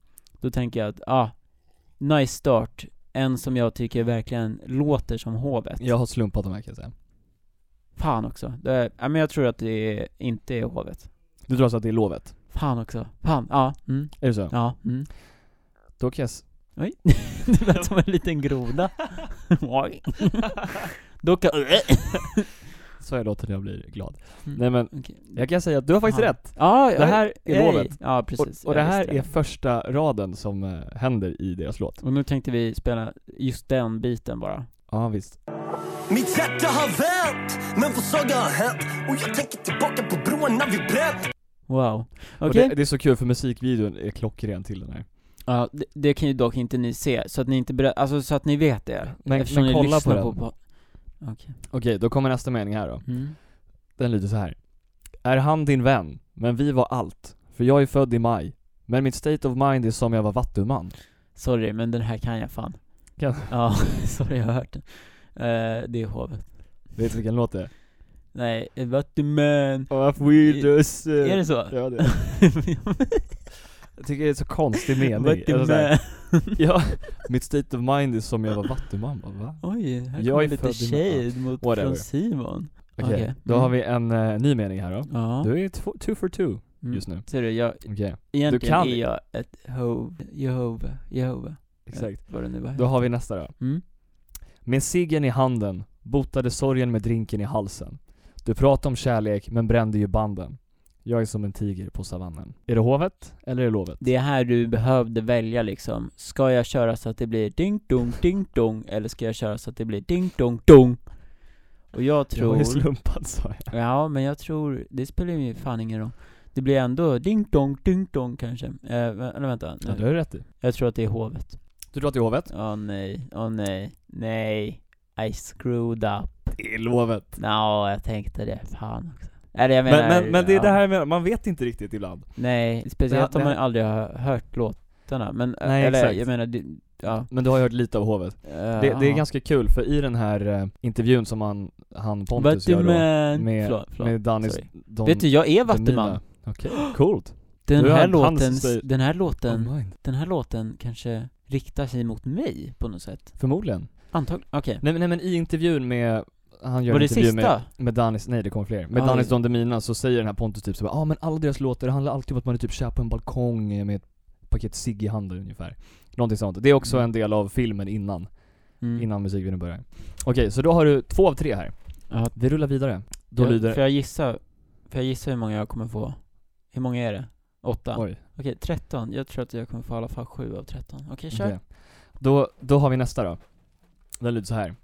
[SPEAKER 1] Då tänker jag att, ah, nice start. En som jag tycker verkligen låter som hovet.
[SPEAKER 2] Jag har slumpat de här kan jag säga.
[SPEAKER 1] Fan också. Det är, ja, men jag tror att det är, inte är hovet.
[SPEAKER 2] Du tror alltså att det är lovet?
[SPEAKER 1] Fan också. Fan, ja, mm,
[SPEAKER 2] Är det så?
[SPEAKER 1] ja, mm.
[SPEAKER 2] Då kan jag... s-
[SPEAKER 1] Oj. (laughs) det lät som en liten groda. (laughs) Oj. Då (laughs) kan,
[SPEAKER 2] Så jag låter när jag blir glad.
[SPEAKER 1] Mm.
[SPEAKER 2] Nej men,
[SPEAKER 1] Okej.
[SPEAKER 2] jag kan säga att du har faktiskt
[SPEAKER 1] Aha.
[SPEAKER 2] rätt!
[SPEAKER 1] Ja,
[SPEAKER 2] Det här är
[SPEAKER 1] ey.
[SPEAKER 2] lovet.
[SPEAKER 1] Ja, precis.
[SPEAKER 2] Och, och det
[SPEAKER 1] Jag
[SPEAKER 2] här
[SPEAKER 1] visste
[SPEAKER 2] är första raden som eh, händer i deras låt.
[SPEAKER 1] Och nu tänkte vi spela just den biten bara.
[SPEAKER 2] Ja visst.
[SPEAKER 4] Mitt hjärta har vänt, men vår saga har hänt Och jag tänker tillbaka på broarna vi bränt
[SPEAKER 1] Wow.
[SPEAKER 2] Och
[SPEAKER 1] Okej.
[SPEAKER 2] Det, det är så kul för musikvideon är klockren till den här.
[SPEAKER 1] Ja, det, det kan ju dock inte ni se, så att ni inte berä- alltså så att ni vet det.
[SPEAKER 2] Men-
[SPEAKER 1] eftersom
[SPEAKER 2] men
[SPEAKER 1] ni
[SPEAKER 2] kolla
[SPEAKER 1] lyssnar
[SPEAKER 2] på den.
[SPEAKER 1] på, Okej.
[SPEAKER 2] Okej, då kommer nästa mening här då.
[SPEAKER 1] Mm.
[SPEAKER 2] Den lyder så här. Är han din vän? Men vi var allt. För jag är född i maj. Men mitt state of mind är som jag var vattuman.
[SPEAKER 1] Sorry, men den här kan jag fan.
[SPEAKER 2] Kan-
[SPEAKER 1] (laughs) Ja, sorry jag har hört den. Eh, det är hovet.
[SPEAKER 2] Vet du vilken låt det är?
[SPEAKER 1] Nej, Vattuman.
[SPEAKER 2] Varför we just...
[SPEAKER 1] Är det så?
[SPEAKER 2] Ja det är. (laughs) Jag tycker det är så konstig mening. Alltså, så här,
[SPEAKER 1] Vattuman.
[SPEAKER 2] (laughs) ja, mitt state of mind är som jag var vattuman, bara, va?
[SPEAKER 1] (laughs) Oj, här
[SPEAKER 2] Jag
[SPEAKER 1] kommer
[SPEAKER 2] är
[SPEAKER 1] lite
[SPEAKER 2] född i-
[SPEAKER 1] shade mot
[SPEAKER 2] Whatever.
[SPEAKER 1] från Simon.
[SPEAKER 2] Okej,
[SPEAKER 1] Okej,
[SPEAKER 2] då
[SPEAKER 1] mm.
[SPEAKER 2] har vi en eh, ny mening här då.
[SPEAKER 1] Ja.
[SPEAKER 2] Du är två, two for two
[SPEAKER 1] Mm.
[SPEAKER 2] just nu.
[SPEAKER 1] Ser du, jag,
[SPEAKER 2] Okej,
[SPEAKER 1] egentligen
[SPEAKER 2] kan-
[SPEAKER 1] är jag ett hov, Jehova, Jehova.
[SPEAKER 2] exakt.
[SPEAKER 1] Vad det nu var.
[SPEAKER 2] Då har vi nästa då.
[SPEAKER 1] Mm.
[SPEAKER 2] Med ciggen i handen botade sorgen med drinken i halsen. Du pratade om kärlek men brände ju banden. Jag är som en tiger på savannen. Är det hovet eller är det lovet?
[SPEAKER 1] Det är här du behövde välja liksom, ska jag köra så att det blir ding dong, ding dong, eller ska jag köra så att det blir ding dong, dong? Och jag
[SPEAKER 2] Jag var
[SPEAKER 1] tror...
[SPEAKER 2] ju slumpad sa jag.
[SPEAKER 1] Ja, men jag tror, det spelar ju fan ingen roll. Det blir ändå ding dong, ding dong kanske. Eh, vä- eller vänta,
[SPEAKER 2] Ja, det
[SPEAKER 1] nu.
[SPEAKER 2] har du rätt i.
[SPEAKER 1] jag tror att det är hovet.
[SPEAKER 2] Du tror att det är hovet?
[SPEAKER 1] Åh nej, åh nej, nej. I screwed up.
[SPEAKER 2] Det är lovet.
[SPEAKER 1] Nå, jag tänkte det, fan också. Eller jag menar,
[SPEAKER 2] Men, men, men det är
[SPEAKER 1] ja,
[SPEAKER 2] det här jag menar, man vet inte riktigt ibland.
[SPEAKER 1] Nej, speciellt
[SPEAKER 2] Det-
[SPEAKER 1] om
[SPEAKER 2] det-
[SPEAKER 1] man aldrig har hört låtarna. Men, eh,
[SPEAKER 2] Nej,
[SPEAKER 1] eller
[SPEAKER 2] exakt.
[SPEAKER 1] jag menar, det, ja. eh,
[SPEAKER 2] Men du har ju hört lite av hovet. Det, det är ganska kul för i den här eh, intervjun som han, han Pontus gör då
[SPEAKER 1] Vattuman!
[SPEAKER 2] med-
[SPEAKER 1] Förlåt, förlåt.
[SPEAKER 2] med Danny
[SPEAKER 1] Sorry. Vet du, jag är Vattuman.
[SPEAKER 2] Okej, coolt.
[SPEAKER 1] Den
[SPEAKER 2] Du är
[SPEAKER 1] här,
[SPEAKER 2] han- han som
[SPEAKER 1] låten,
[SPEAKER 2] säger-
[SPEAKER 1] (gasps) den här låten,
[SPEAKER 2] Oh, mind.
[SPEAKER 1] den här låten kanske riktar sig mot mig på något sätt.
[SPEAKER 2] Förmodligen.
[SPEAKER 1] Antagligen, okej.
[SPEAKER 2] Nej, men- nej men i intervjun med han gör
[SPEAKER 1] Var
[SPEAKER 2] en
[SPEAKER 1] det
[SPEAKER 2] intervju
[SPEAKER 1] sista?
[SPEAKER 2] med, med Danis, nej det kommer fler. Med
[SPEAKER 1] Aj.
[SPEAKER 2] Danis Don Demina så säger den här Pontus typ så bara, ja ah, men alla deras låtar det handlar alltid om att man är typ kär på en balkong eh, med ett paket cigg i handen ungefär. Någonting sånt. Det är också
[SPEAKER 1] Mm.
[SPEAKER 2] en del av filmen innan,
[SPEAKER 1] Mm.
[SPEAKER 2] innan musikvideon börjar. Okej, så då har du två av tre här.
[SPEAKER 1] Ja.
[SPEAKER 2] Vi rullar vidare. Då
[SPEAKER 1] jag,
[SPEAKER 2] lyder...
[SPEAKER 1] Får jag gissa, får jag gissa hur många jag kommer få? Hur många är det? Åtta? Okej,
[SPEAKER 2] Oj,
[SPEAKER 1] 13. Jag tror att jag kommer få i alla fall sju av 13. Okej, kör.
[SPEAKER 2] okej. Då, då har vi nästa då. Den lyder så här.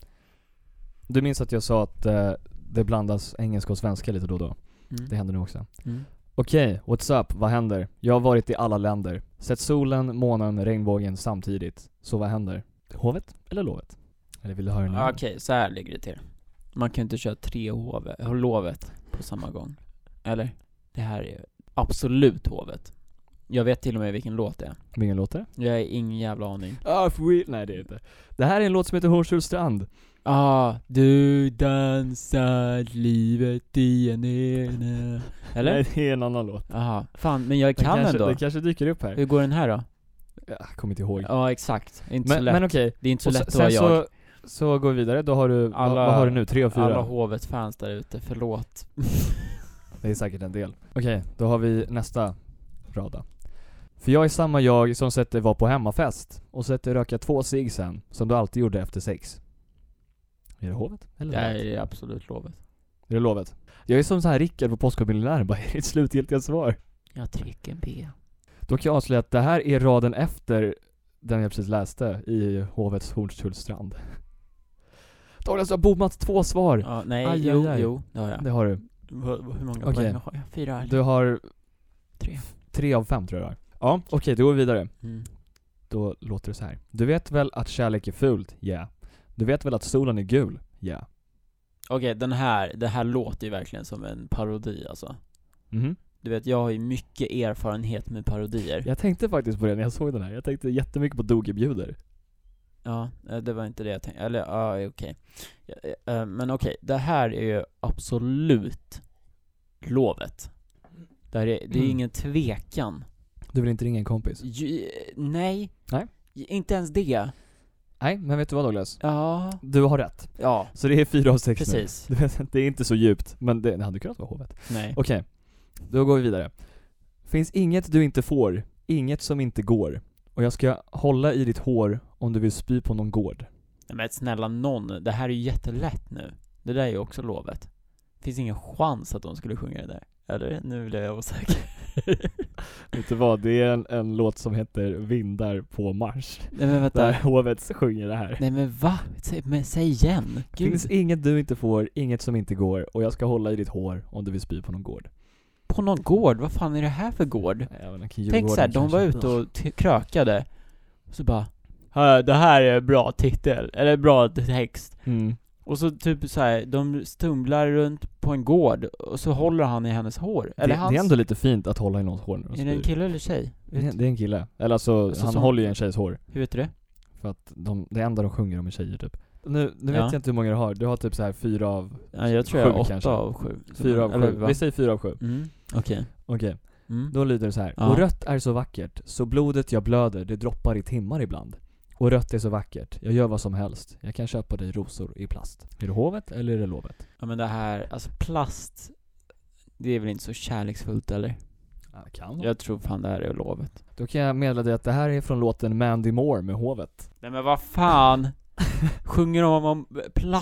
[SPEAKER 2] Du minns att jag sa att eh, det blandas engelska och svenska lite då och då?
[SPEAKER 1] Mm.
[SPEAKER 2] Det händer nu också.
[SPEAKER 1] Mm.
[SPEAKER 2] Okej, what's up? Vad händer? Jag har varit i alla länder. Sett solen, månen, regnbågen samtidigt. Så vad händer? Hovet eller lovet? Eller vill du höra nu?
[SPEAKER 1] Ah, Okej, så här ligger det till. Man kan ju inte köra tre hov, eh, lovet på samma gång. Eller? Det här är absolut hovet. Jag vet till och med vilken låt det är.
[SPEAKER 2] Vilken låt är det?
[SPEAKER 1] Jag har ingen jävla aning.
[SPEAKER 2] Ah, we... Nej det är inte. Det här är en låt som heter Horshul strand.
[SPEAKER 1] Ah, du dansar livet i en ena. Eller?
[SPEAKER 2] Nej det är en annan låt.
[SPEAKER 1] Jaha, fan men jag
[SPEAKER 2] Den
[SPEAKER 1] kan
[SPEAKER 2] kanske,
[SPEAKER 1] ändå.
[SPEAKER 2] Det kanske dyker upp här.
[SPEAKER 1] Hur går den här då?
[SPEAKER 2] Jag kommer inte ihåg.
[SPEAKER 1] Ja exakt, Det är inte så
[SPEAKER 2] men
[SPEAKER 1] lätt.
[SPEAKER 2] men okej.
[SPEAKER 1] det är inte så
[SPEAKER 2] Och
[SPEAKER 1] lätt
[SPEAKER 2] sen,
[SPEAKER 1] att vara
[SPEAKER 2] sen
[SPEAKER 1] jag.
[SPEAKER 2] så, så går vi vidare. Då har du, alla,
[SPEAKER 1] Alla-
[SPEAKER 2] vad har du nu? Tre och fyra? Mm.
[SPEAKER 1] Alla hovets fans där ute, förlåt.
[SPEAKER 2] Det är säkert en del. Okej, då har vi nästa rada. För jag är samma jag som sett dig vara på hemmafest och sett dig röka två cigg sen, som du alltid gjorde efter sex. Är det hovet? Eller
[SPEAKER 1] det
[SPEAKER 2] lovet?
[SPEAKER 1] här är absolut lovet.
[SPEAKER 2] Är det lovet? Jag är som så här Rickard på Postkodmiljonären, (laughs) bara är det ditt slutgiltiga svar?
[SPEAKER 1] Jag trycker B.
[SPEAKER 2] Då kan jag avslöja att det här är raden efter den jag precis läste i hovets Hornstullstrand. (laughs) Douglas, du har bommat två svar!
[SPEAKER 1] Ja, nej,
[SPEAKER 2] Aj,
[SPEAKER 1] jo,
[SPEAKER 2] aj, aj.
[SPEAKER 1] jo, det har jag.
[SPEAKER 2] Det har du.
[SPEAKER 1] Hur, hur många
[SPEAKER 2] Okej.
[SPEAKER 1] poäng har jag? Fyra eller
[SPEAKER 2] Du har
[SPEAKER 1] tre?
[SPEAKER 2] tre av fem tror jag det är. Ja, okej då går vi vidare.
[SPEAKER 1] Mm.
[SPEAKER 2] Då låter det så här. Du vet väl att kärlek är fult? Ja. Du vet väl att solen är gul? Ja.
[SPEAKER 1] Okej, den här, det här låter ju verkligen som en parodi alltså.
[SPEAKER 2] Mhm.
[SPEAKER 1] Du vet, jag har ju mycket erfarenhet med parodier.
[SPEAKER 2] Jag tänkte faktiskt på det när jag såg den här. Jag tänkte jättemycket på Doge bjuder.
[SPEAKER 1] Ja, eh, det var inte det jag tänkte, eller ja, eh, okej. Ja, eh, eh, Men okej, det här är ju absolut lovet. Det, här är, det är
[SPEAKER 2] Mm.
[SPEAKER 1] ingen tvekan.
[SPEAKER 2] Du vill inte ringa en kompis?
[SPEAKER 1] Ju, eh, nej.
[SPEAKER 2] Nej.
[SPEAKER 1] Ju- Inte ens det.
[SPEAKER 2] Nej, men vet du vad Douglas?
[SPEAKER 1] Ja.
[SPEAKER 2] Du har rätt.
[SPEAKER 1] Ja,
[SPEAKER 2] Så det är fyra av sex nu.
[SPEAKER 1] precis.
[SPEAKER 2] (laughs) Du vet, Det är inte så djupt, men det, det hade kunnat vara hovet.
[SPEAKER 1] Nej.
[SPEAKER 2] Okej, då går vi vidare. Finns inget du inte får, inget som inte går. Och jag ska hålla i ditt hår om du vill spy på någon gård.
[SPEAKER 1] Nej, men snälla någon, det här är ju jättelätt nu. Det där är ju också lovet. Finns ingen chans att de skulle sjunga det där. Eller? Nu blir jag osäker.
[SPEAKER 2] Vet du vad, det är en, en låt som heter Vindar på Mars.
[SPEAKER 1] Nej men
[SPEAKER 2] Där
[SPEAKER 1] vänta.
[SPEAKER 2] hovet sjunger det här.
[SPEAKER 1] Nej men va? Säg, men säg igen.
[SPEAKER 2] Det
[SPEAKER 1] Gud.
[SPEAKER 2] finns inget du inte får, inget som inte går och jag ska hålla i ditt hår om du vill spy på någon gård.
[SPEAKER 1] På någon gård? Vad fan är det här för gård?
[SPEAKER 2] Även
[SPEAKER 1] Tänk såhär, de var ute och t- krökade. Och så bara "Hör, det här är bra titel, eller bra text.
[SPEAKER 2] Mm.
[SPEAKER 1] Och så typ så här, de stumlar runt på en gård och så håller han i hennes hår.
[SPEAKER 2] Det, det
[SPEAKER 1] Eller hans.
[SPEAKER 2] är ändå lite fint att hålla i någons hår när de
[SPEAKER 1] är det en
[SPEAKER 2] spyr.
[SPEAKER 1] kille eller tjej?
[SPEAKER 2] Det är-
[SPEAKER 1] Vet,
[SPEAKER 2] det är en kille. Eller alltså,
[SPEAKER 1] Alltså,
[SPEAKER 2] han
[SPEAKER 1] som-
[SPEAKER 2] håller ju en tjejs hår.
[SPEAKER 1] hur vet du det?
[SPEAKER 2] För att de, det enda de sjunger om är tjejer typ. Nu, nu
[SPEAKER 1] Ja.
[SPEAKER 2] vet jag inte hur många du har, du har typ så här fyra av,
[SPEAKER 1] Ja, jag tror jag
[SPEAKER 2] Sju
[SPEAKER 1] har åtta
[SPEAKER 2] kanske.
[SPEAKER 1] av sju.
[SPEAKER 2] fyra av
[SPEAKER 1] Eller
[SPEAKER 2] sju,
[SPEAKER 1] va?
[SPEAKER 2] vi säger fyra av sju
[SPEAKER 1] Mm, okej.
[SPEAKER 2] Okej,
[SPEAKER 1] Mm.
[SPEAKER 2] då lyder det så här.
[SPEAKER 1] Ja.
[SPEAKER 2] Och rött är så vackert, så blodet jag blöder, det droppar i timmar ibland Och rött är så vackert, jag gör vad som helst Jag kan köpa dig rosor i plast Är det hovet eller är det lovet?
[SPEAKER 1] Ja men det här, alltså plast, det är väl inte så kärleksfullt eller?
[SPEAKER 2] Ja, kan
[SPEAKER 1] Jag tror fan det här är lovet.
[SPEAKER 2] Då kan jag meddela dig att det här är från låten Mandy Moore med hovet
[SPEAKER 1] Nej men vad fan! (laughs) Sjunger de om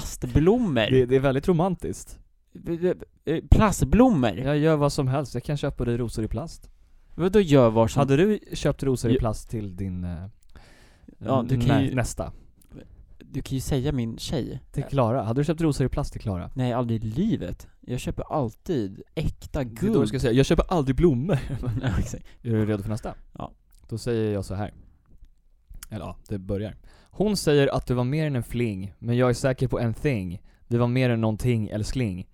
[SPEAKER 1] plastblommor?
[SPEAKER 2] det, det är väldigt romantiskt
[SPEAKER 1] B- b- eh, Plastblommor?
[SPEAKER 2] Jag gör vad som helst, jag kan köpa dig rosor i plast
[SPEAKER 1] Vadå gör var som...
[SPEAKER 2] Hade du köpt rosor i
[SPEAKER 1] Ja.
[SPEAKER 2] plast till din eh,
[SPEAKER 1] Ja, du kan
[SPEAKER 2] nä-
[SPEAKER 1] ju-
[SPEAKER 2] nästa?
[SPEAKER 1] Du kan ju säga min tjej.
[SPEAKER 2] Till Klara? Hade du köpt rosor i plast till Klara?
[SPEAKER 1] Nej, aldrig i livet. Jag köper alltid äkta
[SPEAKER 2] Det är
[SPEAKER 1] guld.
[SPEAKER 2] då du ska säga, jag köper aldrig blommor.
[SPEAKER 1] (laughs) ja, exakt.
[SPEAKER 2] är du redo för nästa?
[SPEAKER 1] Ja.
[SPEAKER 2] Då säger jag så här. Eller ja, det börjar. Hon säger att du var mer än en fling, men jag är säker på en thing. Vi var mer än någonting, älskling.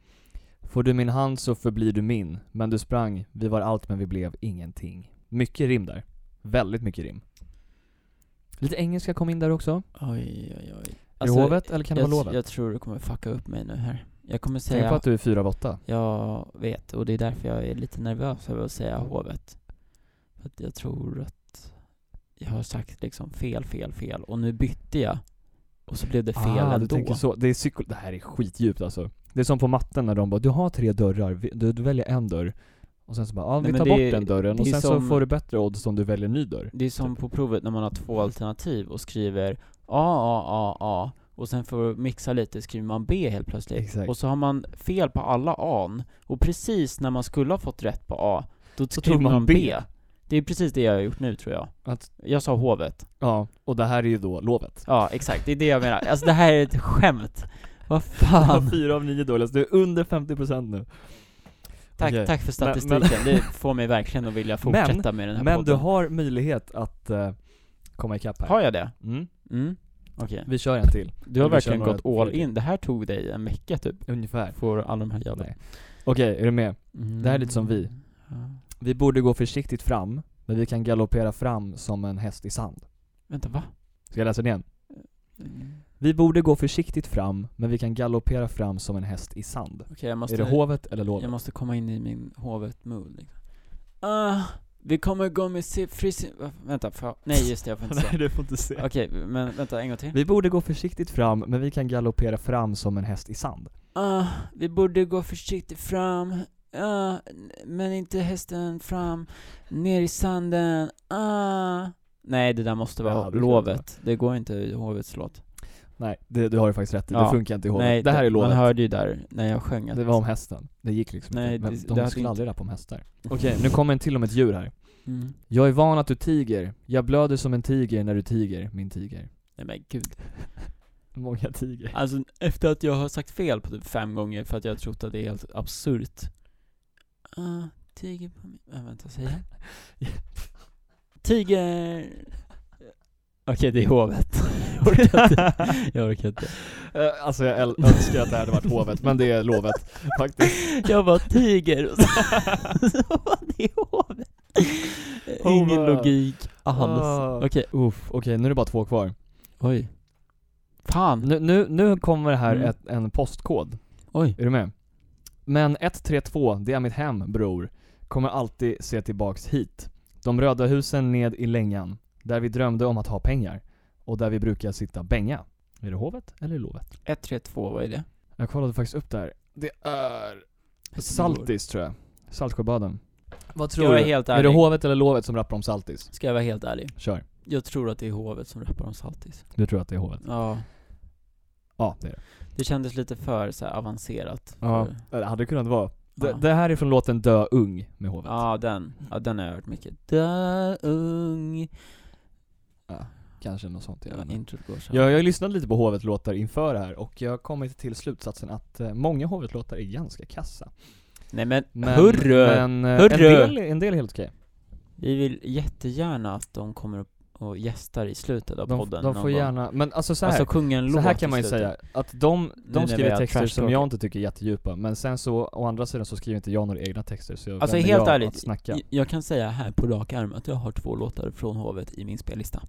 [SPEAKER 2] Får du min hand så förblir du min, men du sprang, vi var allt men vi blev ingenting. Mycket rim där. Väldigt mycket rim. Lite engelska kom in där också.
[SPEAKER 1] Oj, oj, oj.
[SPEAKER 2] Är det hovet eller kan det
[SPEAKER 1] jag,
[SPEAKER 2] vara lovet?
[SPEAKER 1] jag tror du kommer fucka upp mig nu här. Jag kommer
[SPEAKER 2] Tänk
[SPEAKER 1] säga...
[SPEAKER 2] på att du är fyra av åtta.
[SPEAKER 1] Jag vet, och det är därför jag är lite nervös över att säga hovet. För att jag tror att jag har sagt liksom fel, fel, fel. Och nu bytte jag. Och så blev det fel
[SPEAKER 2] ah, du
[SPEAKER 1] ändå.
[SPEAKER 2] tänker så. Det, är psyko- det här är skitdjupt alltså. Det är som på matten när de bara, du har tre dörrar, Vi- du, du väljer en dörr. Och sen så bara, ja ah,
[SPEAKER 1] Nej,
[SPEAKER 2] vi
[SPEAKER 1] men
[SPEAKER 2] tar
[SPEAKER 1] det
[SPEAKER 2] bort
[SPEAKER 1] är-
[SPEAKER 2] den dörren
[SPEAKER 1] det
[SPEAKER 2] och
[SPEAKER 1] är
[SPEAKER 2] sen så
[SPEAKER 1] som-
[SPEAKER 2] får du bättre odds om du väljer en ny dörr.
[SPEAKER 1] Det är som på provet när man har två alternativ och skriver A, A, A, A och sen för att mixa lite skriver man B helt plötsligt.
[SPEAKER 2] Exakt.
[SPEAKER 1] Och så har man fel på alla A'n och precis när man skulle ha fått rätt på A, då skriver
[SPEAKER 2] tog man
[SPEAKER 1] man,
[SPEAKER 2] B.
[SPEAKER 1] B. Det är precis det jag har gjort nu tror jag.
[SPEAKER 2] Att,
[SPEAKER 1] Jag sa hovet.
[SPEAKER 2] ja, och det här är ju då lovet.
[SPEAKER 1] Ja, exakt. Det är det jag menar. Alltså det här är ett skämt. Vad
[SPEAKER 2] (laughs)
[SPEAKER 1] fan.
[SPEAKER 2] Fyra av nio dörrar, så du är under 50% nu.
[SPEAKER 1] (laughs) Tack,
[SPEAKER 2] Okej.
[SPEAKER 1] tack för
[SPEAKER 2] Men- men-
[SPEAKER 1] statistiken. (laughs) Det får mig verkligen att vilja fortsätta med den här
[SPEAKER 2] Men du
[SPEAKER 1] podden.
[SPEAKER 2] har möjlighet att eh, komma ikapp här.
[SPEAKER 1] Har jag det?
[SPEAKER 2] Mm.
[SPEAKER 1] Mm. Okej.
[SPEAKER 2] Vi kör en till,
[SPEAKER 1] Du har
[SPEAKER 2] Vi kör
[SPEAKER 1] verkligen
[SPEAKER 2] några
[SPEAKER 1] gått all
[SPEAKER 2] fler.
[SPEAKER 1] in. Det här tog dig en vecka typ.
[SPEAKER 2] ungefär.
[SPEAKER 1] Får alla de här jävla...
[SPEAKER 2] Nej. Okej, är du med?
[SPEAKER 1] Mm.
[SPEAKER 2] Det här är lite som vi.
[SPEAKER 1] Ja.
[SPEAKER 2] Vi borde gå försiktigt fram, men vi kan galoppera fram som en häst i sand.
[SPEAKER 1] Vänta, va?
[SPEAKER 2] Ska jag läsa det igen?
[SPEAKER 1] Mm.
[SPEAKER 2] Vi borde gå försiktigt fram, men vi kan galoppera fram som en häst i sand.
[SPEAKER 1] Okej, jag måste...
[SPEAKER 2] är det hovet eller
[SPEAKER 1] Jag
[SPEAKER 2] (laughs) lovet?
[SPEAKER 1] måste komma in i min hovet-mood liksom. Ah, vi kommer gå med si- frisin... va- Vänta, får jag... Nej just det, jag får (laughs) inte säga.
[SPEAKER 2] det får inte se.
[SPEAKER 1] Okej, men vänta en gång till.
[SPEAKER 2] Vi borde gå försiktigt fram, men vi kan galoppera fram som en häst i sand.
[SPEAKER 1] Ah, vi borde gå försiktigt fram. Ah, n- men inte hästen fram. Ner i sanden. Ah. Nej, det där måste vara
[SPEAKER 2] Ja, det ska
[SPEAKER 1] lovet. Det går inte i hovets låt.
[SPEAKER 2] Nej, det, du har ju faktiskt rätt i. Det
[SPEAKER 1] Ja.
[SPEAKER 2] funkar inte i hovet.
[SPEAKER 1] Nej,
[SPEAKER 2] det här är
[SPEAKER 1] Man
[SPEAKER 2] lovet.
[SPEAKER 1] hörde ju där när jag sjöng att...
[SPEAKER 2] Det var om hästen. Det gick liksom
[SPEAKER 1] Nej,
[SPEAKER 2] inte.
[SPEAKER 1] det-
[SPEAKER 2] Men
[SPEAKER 1] det
[SPEAKER 2] de
[SPEAKER 1] hade
[SPEAKER 2] skulle
[SPEAKER 1] inte-
[SPEAKER 2] aldrig rappa om hästar. Okej, nu kommer en till om ett djur här.
[SPEAKER 1] Mm.
[SPEAKER 2] Jag är van att du tiger. Jag blöder som en tiger när du tiger, min tiger.
[SPEAKER 1] Nej men gud.
[SPEAKER 2] Många tiger. (laughs)
[SPEAKER 1] Alltså efter att jag har sagt fel på typ fem gånger för att jag har trott att det är helt absurt. Ah, tiger på min... Äh, vänta, säg
[SPEAKER 2] (laughs)
[SPEAKER 1] igen. Tiger! Okej, det är hovet. jag orkar inte. Jag orkar (laughs) inte.
[SPEAKER 2] (laughs) Eh, Alltså jag äl- önskar att det här hade varit hovet, men det är lovet faktiskt.
[SPEAKER 1] Jag var tiger och så, (laughs) så var det hovet. Ingen
[SPEAKER 2] Hovet.
[SPEAKER 1] logik alls.
[SPEAKER 2] Ah.
[SPEAKER 1] Okej,
[SPEAKER 2] Uff, okej nu är det bara två kvar.
[SPEAKER 1] oj. Fan,
[SPEAKER 2] Nu, nu, nu kommer här
[SPEAKER 1] Mm.
[SPEAKER 2] ett, en postkod.
[SPEAKER 1] oj.
[SPEAKER 2] Är du med? Men 132, det är mitt hem bror. Kommer alltid se tillbaks hit. De röda husen ned i längan. Där vi drömde om att ha pengar. Och där vi brukar sitta bänga. Är det hovet eller lovet?
[SPEAKER 1] 132, vad är det?
[SPEAKER 2] Jag kollade faktiskt upp där. Det är Saltis tror jag. Saltsjöbaden. Vad
[SPEAKER 1] Ska jag
[SPEAKER 2] tror
[SPEAKER 1] vara
[SPEAKER 2] du?
[SPEAKER 1] helt
[SPEAKER 2] Är det
[SPEAKER 1] ärlig?
[SPEAKER 2] hovet eller lovet som rappar om Saltis?
[SPEAKER 1] Ska jag vara helt ärlig?
[SPEAKER 2] Kör.
[SPEAKER 1] Jag tror att det är hovet som rappar om Saltis.
[SPEAKER 2] Du tror att det är hovet?
[SPEAKER 1] Ja.
[SPEAKER 2] Ja, det är det.
[SPEAKER 1] Det kändes lite för så här, avancerat.
[SPEAKER 2] Ja.
[SPEAKER 1] För-
[SPEAKER 2] Det hade kunnat vara. Det,
[SPEAKER 1] ja.
[SPEAKER 2] det här är från låten Dö ung med hovet.
[SPEAKER 1] Ja, den. Ja, den har jag hört mycket. Dö ung.
[SPEAKER 2] Kanske något sånt, jag vet
[SPEAKER 1] Ja,
[SPEAKER 2] inte.
[SPEAKER 1] introt går så.
[SPEAKER 2] Ja, jag har ju lyssnat lite på Hovet-låtar inför det här och jag har kommit till slutsatsen att eh, många Hovet-låtar är ganska kassa.
[SPEAKER 1] Nej men,
[SPEAKER 2] Men,
[SPEAKER 1] hurru!
[SPEAKER 2] men eh, En,
[SPEAKER 1] Hurru!
[SPEAKER 2] del, en del är helt okej.
[SPEAKER 1] Vi vill jättegärna att de kommer upp och gästar i slutet av
[SPEAKER 2] De,
[SPEAKER 1] podden.
[SPEAKER 2] de
[SPEAKER 1] någon
[SPEAKER 2] får
[SPEAKER 1] gång.
[SPEAKER 2] gärna, men alltså så här,
[SPEAKER 1] alltså sjunga en
[SPEAKER 2] så
[SPEAKER 1] låt
[SPEAKER 2] här kan
[SPEAKER 1] i
[SPEAKER 2] man ju
[SPEAKER 1] slutet.
[SPEAKER 2] säga att de,
[SPEAKER 1] när
[SPEAKER 2] de
[SPEAKER 1] vi
[SPEAKER 2] skriver
[SPEAKER 1] har
[SPEAKER 2] texter som
[SPEAKER 1] trashtalkat.
[SPEAKER 2] jag inte tycker är jättedjupa, men sen så, å andra sidan så skriver inte jag några egna texter så
[SPEAKER 1] Alltså
[SPEAKER 2] vem är
[SPEAKER 1] helt
[SPEAKER 2] jag
[SPEAKER 1] ärligt,
[SPEAKER 2] att snacka.
[SPEAKER 1] j- jag kan säga här på rak arm att jag har två låtar från hovet i min spellista.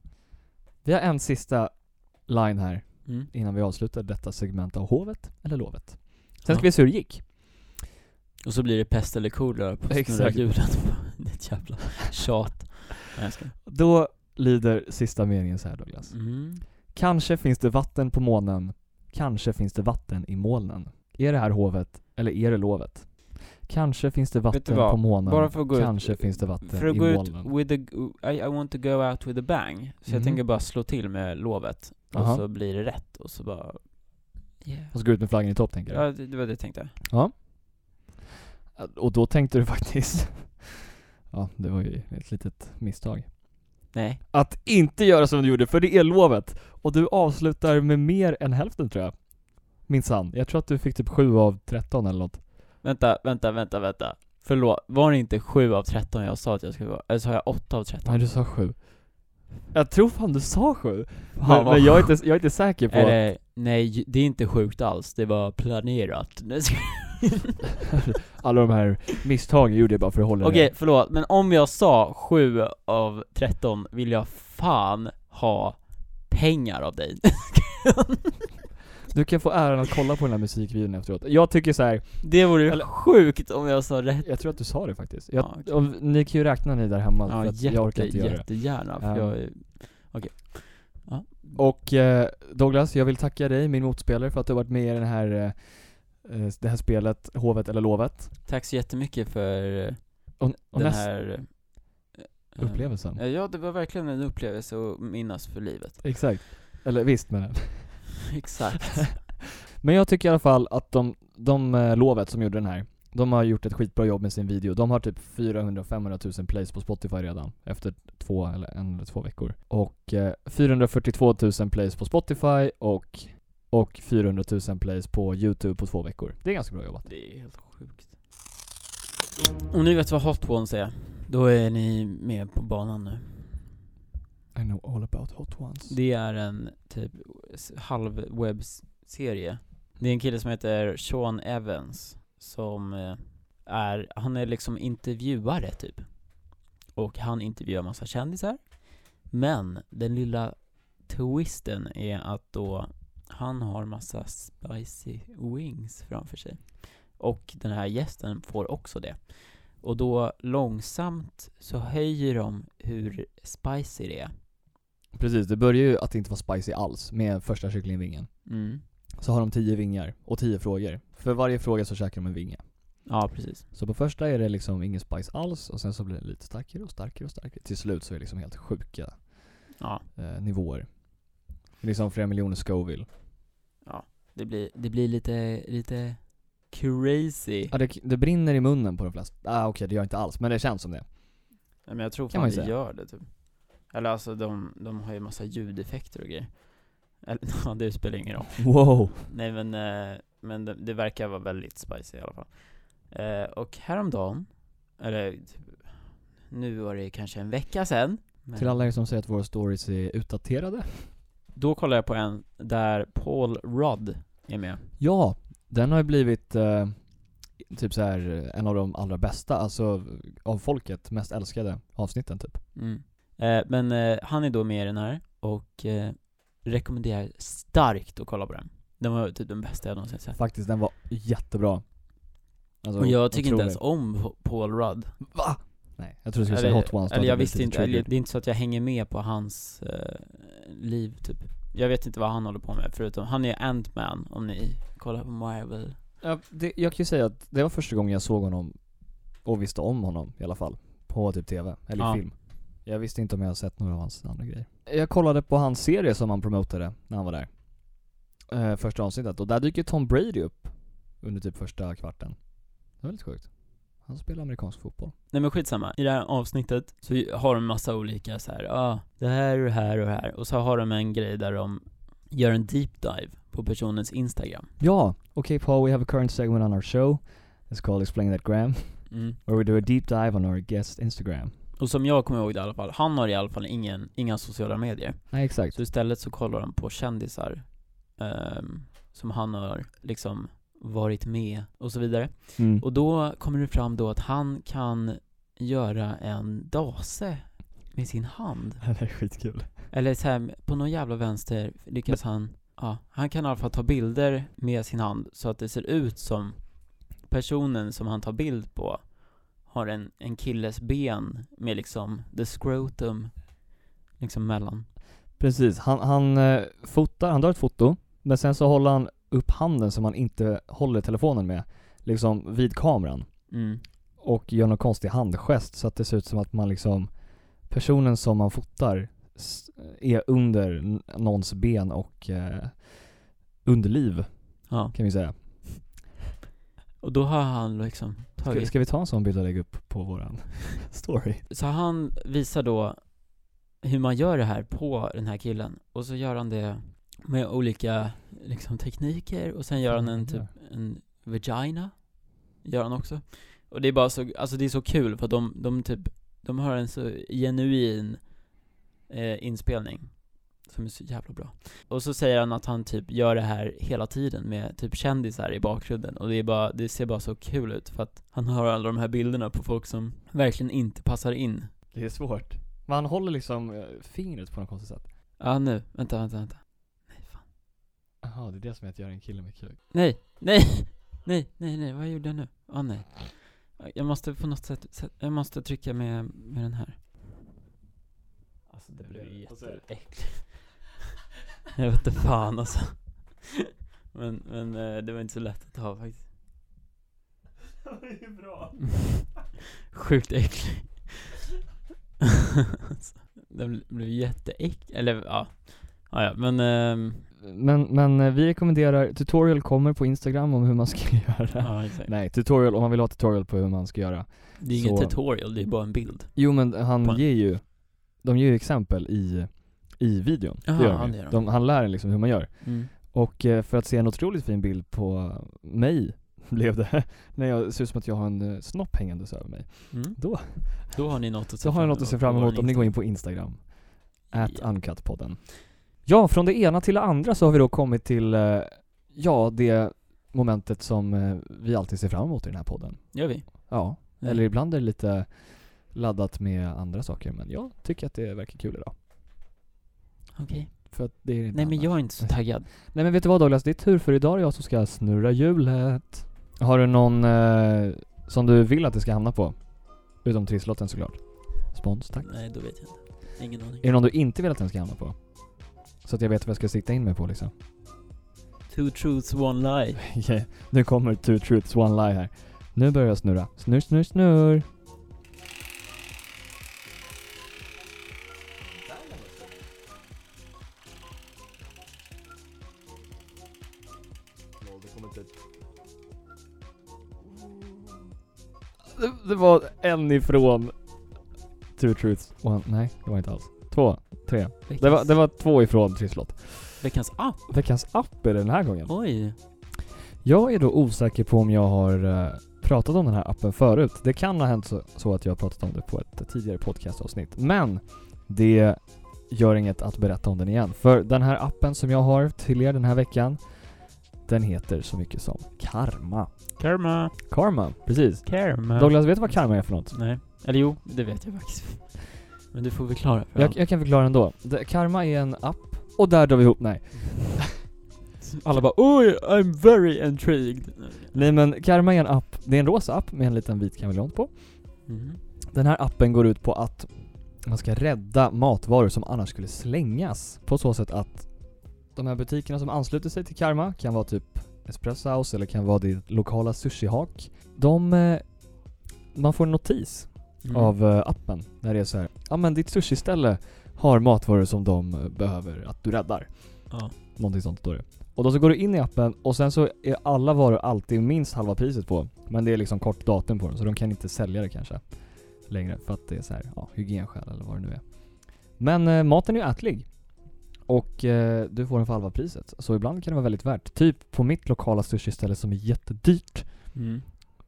[SPEAKER 2] Vi har en sista line här
[SPEAKER 1] Mm.
[SPEAKER 2] innan vi avslutar detta segment av Hovet eller Lovet. Sen
[SPEAKER 1] Ja.
[SPEAKER 2] ska vi se hur det gick.
[SPEAKER 1] Och så blir det pest eller kolera på
[SPEAKER 2] Exakt.
[SPEAKER 1] snurrargulen. (laughs) det är ett jävla tjat. Nej, jag skojar.
[SPEAKER 2] Då lyder sista meningen så här Douglas.
[SPEAKER 1] Mm.
[SPEAKER 2] Kanske finns det vatten på månen. Kanske finns det vatten i molnen. Är det här hovet eller är det lovet? Kanske finns det vatten
[SPEAKER 1] vad?
[SPEAKER 2] på månen.
[SPEAKER 1] Bara för att gå ut-
[SPEAKER 2] Kanske finns det vatten
[SPEAKER 1] För att
[SPEAKER 2] i
[SPEAKER 1] gå ut
[SPEAKER 2] molnen.
[SPEAKER 1] with a, I, I want to go out with a bang. Så jag
[SPEAKER 2] Mhm.
[SPEAKER 1] tänker bara slå till med lovet. Och
[SPEAKER 2] Aha.
[SPEAKER 1] så blir det rätt. Och så bara... Yeah.
[SPEAKER 2] Och så gå ut med flaggan i topp tänker du?
[SPEAKER 1] Ja, det, det var det jag tänkte.
[SPEAKER 2] Och då tänkte du faktiskt... (laughs) ja, det var ju ett litet misstag.
[SPEAKER 1] Nej.
[SPEAKER 2] Att inte göra som du gjorde, för det är lovet! Och du avslutar med mer än hälften tror jag. Minsann. Jag tror att du fick typ 7 av 13 eller något.
[SPEAKER 1] Vänta, vänta, vänta, vänta. Förlåt, var det inte 7 av 13 jag sa att jag skulle vara? Eller sa jag 8 av 13?
[SPEAKER 2] Nej du sa sju. Jag tror fan du sa sju.
[SPEAKER 1] Fan,
[SPEAKER 2] Men,
[SPEAKER 1] vad
[SPEAKER 2] men jag, är inte, jag är inte säker på...
[SPEAKER 1] Är det, nej, ju- det är inte sjukt alls. Det var planerat. Nej, jag skojar.
[SPEAKER 2] (laughs) Alla de här misstagen gjorde jag bara för att hålla
[SPEAKER 1] Okej,
[SPEAKER 2] det.
[SPEAKER 1] förlåt. Men om jag sa 7 av 13 vill jag fan ha pengar av dig.
[SPEAKER 2] Du kan få äran att kolla på den här musikvideon efteråt. Jag tycker så här.
[SPEAKER 1] Det vore ju
[SPEAKER 2] Eller-
[SPEAKER 1] sjukt om jag sa rätt.
[SPEAKER 2] jag tror att du sa det faktiskt. Jag,
[SPEAKER 1] Ja, okej.
[SPEAKER 2] om, ni kan ju räkna ni där hemma,
[SPEAKER 1] Ja,
[SPEAKER 2] för att jag orkar
[SPEAKER 1] jätte,
[SPEAKER 2] inte göra det.
[SPEAKER 1] jättegärna. För
[SPEAKER 2] Ehm.
[SPEAKER 1] jag är- Okej. Ja.
[SPEAKER 2] Och eh, Douglas, jag vill tacka dig, min motspelare, för att du har varit med i den här, eh, eh, det här spelet, Hovet eller Lovet.
[SPEAKER 1] Tack så jättemycket för eh,
[SPEAKER 2] Och, och
[SPEAKER 1] den
[SPEAKER 2] näst-
[SPEAKER 1] här... eh,
[SPEAKER 2] upplevelsen.
[SPEAKER 1] eh, Ja, det var verkligen en upplevelse att minnas för livet.
[SPEAKER 2] Exakt. Eller visst men
[SPEAKER 1] (laughs) Exakt.
[SPEAKER 2] Men jag tycker i alla fall att de, de eh, Lovet som gjorde den här, de har gjort ett skitbra jobb med sin video. De har typ 400-500 000 plays på Spotify redan efter två eller en eller två veckor. Och eh, 442 000 plays på Spotify och, och 400 000 plays på YouTube på två veckor. Det är ganska bra jobbat.
[SPEAKER 1] Det är helt sjukt. Om ni vet vad Hot Ones är, då är ni med på banan nu.
[SPEAKER 2] I know all about hot ones.
[SPEAKER 1] Det är en typ s- halv webbserie. Det är en kille som heter Sean Evans som eh, är, han är liksom intervjuare typ. Och han intervjuar massa kändisar. Men den lilla twisten är att då han har massa spicy wings framför sig. Och den här gästen får också det. Och då långsamt så höjer de hur spicy det är.
[SPEAKER 2] Precis, det börjar ju att det inte vara spicy alls med första kycklingvingen.
[SPEAKER 1] Mm.
[SPEAKER 2] Så har de 10 vingar och 10 frågor. För varje fråga så käkar de en vinge.
[SPEAKER 1] Ja, precis.
[SPEAKER 2] Så på första är det liksom ingen spice alls och sen så blir det lite starkare och starkare och starkare. Till slut så är det liksom helt sjuka
[SPEAKER 1] Ja,
[SPEAKER 2] eh, nivåer. Det är liksom flera miljoner Scoville.
[SPEAKER 1] det blir, det blir lite, lite crazy.
[SPEAKER 2] Ja, det, det brinner i munnen på de flesta. Ah, okej, det gör inte alls, men det känns som det.
[SPEAKER 1] Nej, men jag tror
[SPEAKER 2] Kan
[SPEAKER 1] fan
[SPEAKER 2] man
[SPEAKER 1] det
[SPEAKER 2] ju säga.
[SPEAKER 1] gör det typ. Eller alltså de, de har ju massa ljudeffekter och grejer. Eller, (laughs) ja, det spelar ingen roll.
[SPEAKER 2] Wow!
[SPEAKER 1] Nej men, eh, men det, det verkar vara väldigt spicy i alla fall. Eh, och häromdagen, eller typ, nu var det kanske en vecka sedan. men-
[SPEAKER 2] Till alla er som säger att våra stories är utdaterade.
[SPEAKER 1] Då kollade jag på en där Paul Rudd är med.
[SPEAKER 2] Ja, den har ju blivit eh, typ så här eh, en av de allra bästa, alltså av folket mest älskade avsnitten typ.
[SPEAKER 1] Mm. Eh, men eh, han är då med i den här och eh, rekommenderar starkt att kolla på den. Den var typ den bästa jag någonsin sett.
[SPEAKER 2] Faktiskt, den var jättebra. Alltså,
[SPEAKER 1] Och jag tycker inte
[SPEAKER 2] otrolig.
[SPEAKER 1] ens om Paul Rudd.
[SPEAKER 2] Va? Nej, jag tror du skulle
[SPEAKER 1] Eller,
[SPEAKER 2] säga Hot Ones. då
[SPEAKER 1] eller
[SPEAKER 2] hade
[SPEAKER 1] jag
[SPEAKER 2] jag blivit
[SPEAKER 1] visste
[SPEAKER 2] lite
[SPEAKER 1] inte, eller,
[SPEAKER 2] triggered.
[SPEAKER 1] det är inte så att jag hänger med på hans eh, liv typ. Jag vet inte vad han håller på med förutom, han är Ant-Man om ni kollar på Marvel.
[SPEAKER 2] Ja, det, jag kan ju säga att det var första gången jag såg honom och visste om honom i alla fall. På typ TV, eller i
[SPEAKER 1] Ja.
[SPEAKER 2] film. Jag visste inte om jag hade sett några av hans andra grejer. Jag kollade på hans serie som han promotade när han var där. Eh, första avsnittet. Och där dyker Tom Brady upp under typ första kvarten. Det var lite sjukt. Han spelar amerikansk fotboll.
[SPEAKER 1] Nej men skitsamma, i det här avsnittet så har de massa olika så här, ja, ah, det här och det här och det här. Och så har de en grej där de gör en deep dive på personens instagram.
[SPEAKER 2] Ja, okay Paul, we have a current segment on our show. It's called Explain That Gram.
[SPEAKER 1] Mm.
[SPEAKER 2] Where we do a deep dive on our guest Instagram.
[SPEAKER 1] Och som jag kommer ihåg det i alla fall, han har i alla fall ingen, inga sociala medier.
[SPEAKER 2] Nej exakt.
[SPEAKER 1] Så istället så kollar de på kändisar ehm, som han har liksom varit med och så vidare.
[SPEAKER 2] Mm.
[SPEAKER 1] Och då kommer det fram då att han kan göra en dase med sin hand.
[SPEAKER 2] (laughs) Det är skitkul.
[SPEAKER 1] Eller så här, på någon jävla vänster lyckas han, ja Ja, han kan i alla fall ta bilder med sin hand så att det ser ut som personen som han tar bild på har en, en killes ben med liksom the scrotum liksom mellan.
[SPEAKER 2] Precis, han, han eh, fotar, han drar ett foto, men sen så håller han upp handen som han inte håller telefonen med, liksom vid kameran.
[SPEAKER 1] Mm.
[SPEAKER 2] Och gör någon konstig handgest så att det ser ut som att man liksom, personen som man fotar s- är under n- någons ben och eh, underliv
[SPEAKER 1] Ja,
[SPEAKER 2] kan vi säga.
[SPEAKER 1] och då har han liksom
[SPEAKER 2] Ska,
[SPEAKER 1] tagit
[SPEAKER 2] ska vi ta en sån bild och lägga upp på våran (laughs) story?
[SPEAKER 1] Så han visar då hur man gör det här på den här killen och så gör han det med olika liksom, tekniker och sen gör han en typ en vagina gör han också. Och det är bara så, alltså det är så kul för att de, de typ, de har en så genuin eh, inspelning som är så jävla bra. Och så säger han att han typ gör det här hela tiden med typ kändisar i bakgrunden och det är bara, det ser bara så kul ut för att han har alla de här bilderna på folk som verkligen inte passar in.
[SPEAKER 2] Det är svårt. Men han håller liksom eh, fingret på något konstigt sätt.
[SPEAKER 1] Ja ah, nu, vänta, vänta, vänta. Nej fan.
[SPEAKER 2] Jaha, det är det som är att göra en kille med kuk.
[SPEAKER 1] Nej, nej, (laughs) nej, nej, nej, vad gjorde jag nu? Ah nej. Jag måste på något sätt, sätt- jag måste trycka med, med den här. Alltså det blev jätteäckligt. (laughs) Jag vet inte fan alltså. (laughs) Men, men eh, det var inte så lätt att ta faktiskt. (laughs) Det var ju bra. (laughs) Sjukt äcklig. (laughs) Alltså, Den blev jätteäcklig, eller ja. Ah, ja, men ehm,
[SPEAKER 2] Men, men eh, vi rekommenderar, tutorial kommer på Instagram om hur man ska (laughs) göra.
[SPEAKER 1] ja exakt.
[SPEAKER 2] Nej, tutorial om man vill ha tutorial på hur man ska göra.
[SPEAKER 1] Det är ingen
[SPEAKER 2] Så-
[SPEAKER 1] tutorial, det är bara en bild.
[SPEAKER 2] Jo men han
[SPEAKER 1] På-
[SPEAKER 2] ger ju, de ger ju exempel i, i videon. Det
[SPEAKER 1] Jaha,
[SPEAKER 2] gör de
[SPEAKER 1] han
[SPEAKER 2] ju.
[SPEAKER 1] gör det.
[SPEAKER 2] de, Han lär en liksom hur man gör.
[SPEAKER 1] Mm.
[SPEAKER 2] Och eh, för att se en otroligt fin bild på mig, (laughs) blev det, när jag ser ut som att jag har en eh, snopp hängandes över mig. Då,
[SPEAKER 1] Mm. Då har ni något att se
[SPEAKER 2] så har jag något att se fram emot om ni går in på Instagram. At
[SPEAKER 1] Ja.
[SPEAKER 2] Uncut-podden. Ja, från det ena till det andra så har vi då kommit till, eh, ja, det momentet som eh, vi alltid ser fram emot i den här podden.
[SPEAKER 1] Gör vi?
[SPEAKER 2] Ja,
[SPEAKER 1] Mm.
[SPEAKER 2] eller ibland är det lite laddat med andra saker, men jag tycker att det verkar kul idag.
[SPEAKER 1] Okej.
[SPEAKER 2] För att det är det inte
[SPEAKER 1] Nej men
[SPEAKER 2] annars.
[SPEAKER 1] jag är inte så taggad.
[SPEAKER 2] Nej men vet du vad Douglas, det är tur för idag är det jag som ska snurra hjulet. Har du någon eh, som du vill att det ska hamna på? Utom trisslotten såklart. Spons, tack.
[SPEAKER 1] Nej, då vet jag inte. Ingen aning.
[SPEAKER 2] Är det någon du inte vill att den ska hamna på? Så att jag vet vad jag ska sikta in mig på (laughs) liksom.
[SPEAKER 1] Two truths, one lie.
[SPEAKER 2] Okej, nu kommer two truths one lie här. Nu börjar jag snurra. Snurr, snurr, snurr. Det, det var en ifrån two truths one... Nej, det var inte alls. Två, tre.
[SPEAKER 1] Veckans,
[SPEAKER 2] Det var, det var två ifrån trisslott.
[SPEAKER 1] veckans app.
[SPEAKER 2] Veckans app är det den här gången.
[SPEAKER 1] Oj.
[SPEAKER 2] Jag är då osäker på om jag har eh, pratat om den här appen förut. Det kan ha hänt så, så att jag har pratat om det på ett tidigare podcastavsnitt. Men det gör inget att berätta om den igen. För den här appen som jag har till er den här veckan, den heter så mycket som Karma.
[SPEAKER 1] Karma.
[SPEAKER 2] Karma, precis.
[SPEAKER 1] Karma.
[SPEAKER 2] Douglas, vet du vad karma är för något?
[SPEAKER 1] Nej. Eller jo, det vet jag faktiskt. Men du får förklara för
[SPEAKER 2] Jag, jag kan förklara ändå. Det, karma är en app, och där drar vi ihop, nej.
[SPEAKER 1] Alla bara oj, I'm very intrigued.
[SPEAKER 2] Nej men Karma är en app, det är en rosa app med en liten vit kameleont på.
[SPEAKER 1] Mhm.
[SPEAKER 2] Den här appen går ut på att man ska rädda matvaror som annars skulle slängas. På så sätt att de här butikerna som ansluter sig till Karma kan vara typ Espresso House eller kan vara ditt lokala sushihak. De... eh, Man får en notis
[SPEAKER 1] Mm.
[SPEAKER 2] av eh, appen när det är så här. Ja men ditt sushiställe har matvaror som de eh, behöver att du räddar.
[SPEAKER 1] Ja.
[SPEAKER 2] Någonting sånt står det. Och då så går du in i appen och sen så är alla varor alltid minst halva priset på. Men det är liksom kort datum på dem så de kan inte sälja det kanske längre för att det är så här, ja, hygienskäl eller vad det nu är. Men eh, maten är ju ätlig. Och eh, du får den för halva priset. Så ibland kan det vara väldigt värt. Typ på mitt lokala sushiställe som är jättedyrt.
[SPEAKER 1] Mm.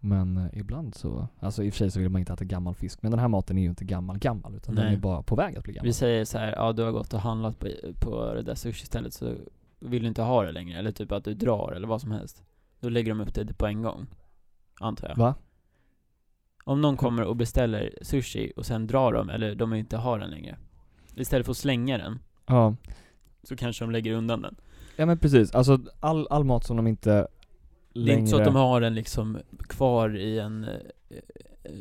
[SPEAKER 2] Men eh, ibland så, alltså i och för sig så vill man inte äta gammal fisk. Men den här maten är ju inte gammal gammal utan den
[SPEAKER 1] Nej.
[SPEAKER 2] är bara på väg att bli gammal.
[SPEAKER 1] Vi säger så här, ja du har gått och handlat på, på det där sushi-stället så vill du inte ha det längre, eller typ att du drar eller vad som helst. Då lägger de upp det på en gång. Antar jag.
[SPEAKER 2] Va?
[SPEAKER 1] Om någon kommer och beställer sushi och sen drar de, eller de inte har den längre. Istället för att slänga den,
[SPEAKER 2] Ja.
[SPEAKER 1] så kanske de lägger undan den.
[SPEAKER 2] Ja men precis, alltså all, all mat som de inte längre...
[SPEAKER 1] Det är inte så att de har den liksom kvar i en eh, eh,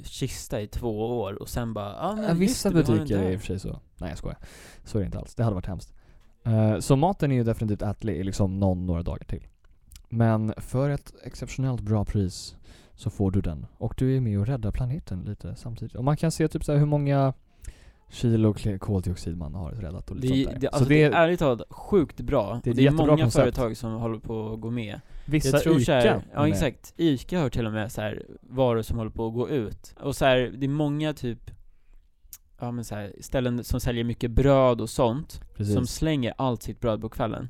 [SPEAKER 1] kista i två år och sen bara ah, men
[SPEAKER 2] Ja, vissa
[SPEAKER 1] just det, vi har den
[SPEAKER 2] butiker är
[SPEAKER 1] där."
[SPEAKER 2] i och för sig så. Nej jag skojar. Så är det inte alls. Det hade varit hemskt. Eh, så maten är ju definitivt ätlig i liksom någon, några dagar till. Men för ett exceptionellt bra pris så får du den. Och du är med och räddar planeten lite samtidigt. Och man kan se typ så här hur många kilo kl- koldioxid man har räddat och lite
[SPEAKER 1] det,
[SPEAKER 2] sånt där.
[SPEAKER 1] det, alltså
[SPEAKER 2] så
[SPEAKER 1] det
[SPEAKER 2] det,
[SPEAKER 1] är ärligt talat sjukt bra.
[SPEAKER 2] Det är
[SPEAKER 1] Och
[SPEAKER 2] ett
[SPEAKER 1] det är
[SPEAKER 2] jättebra
[SPEAKER 1] många
[SPEAKER 2] koncept.
[SPEAKER 1] företag som håller på att gå med.
[SPEAKER 2] vissa
[SPEAKER 1] jag tror så här, Ja
[SPEAKER 2] med.
[SPEAKER 1] exakt, ICA har till och med så här varor som håller på att gå ut. Och så här, det är många typ Ja men så här, ställen som säljer mycket bröd och sånt,
[SPEAKER 2] Precis.
[SPEAKER 1] som slänger allt sitt bröd på kvällen.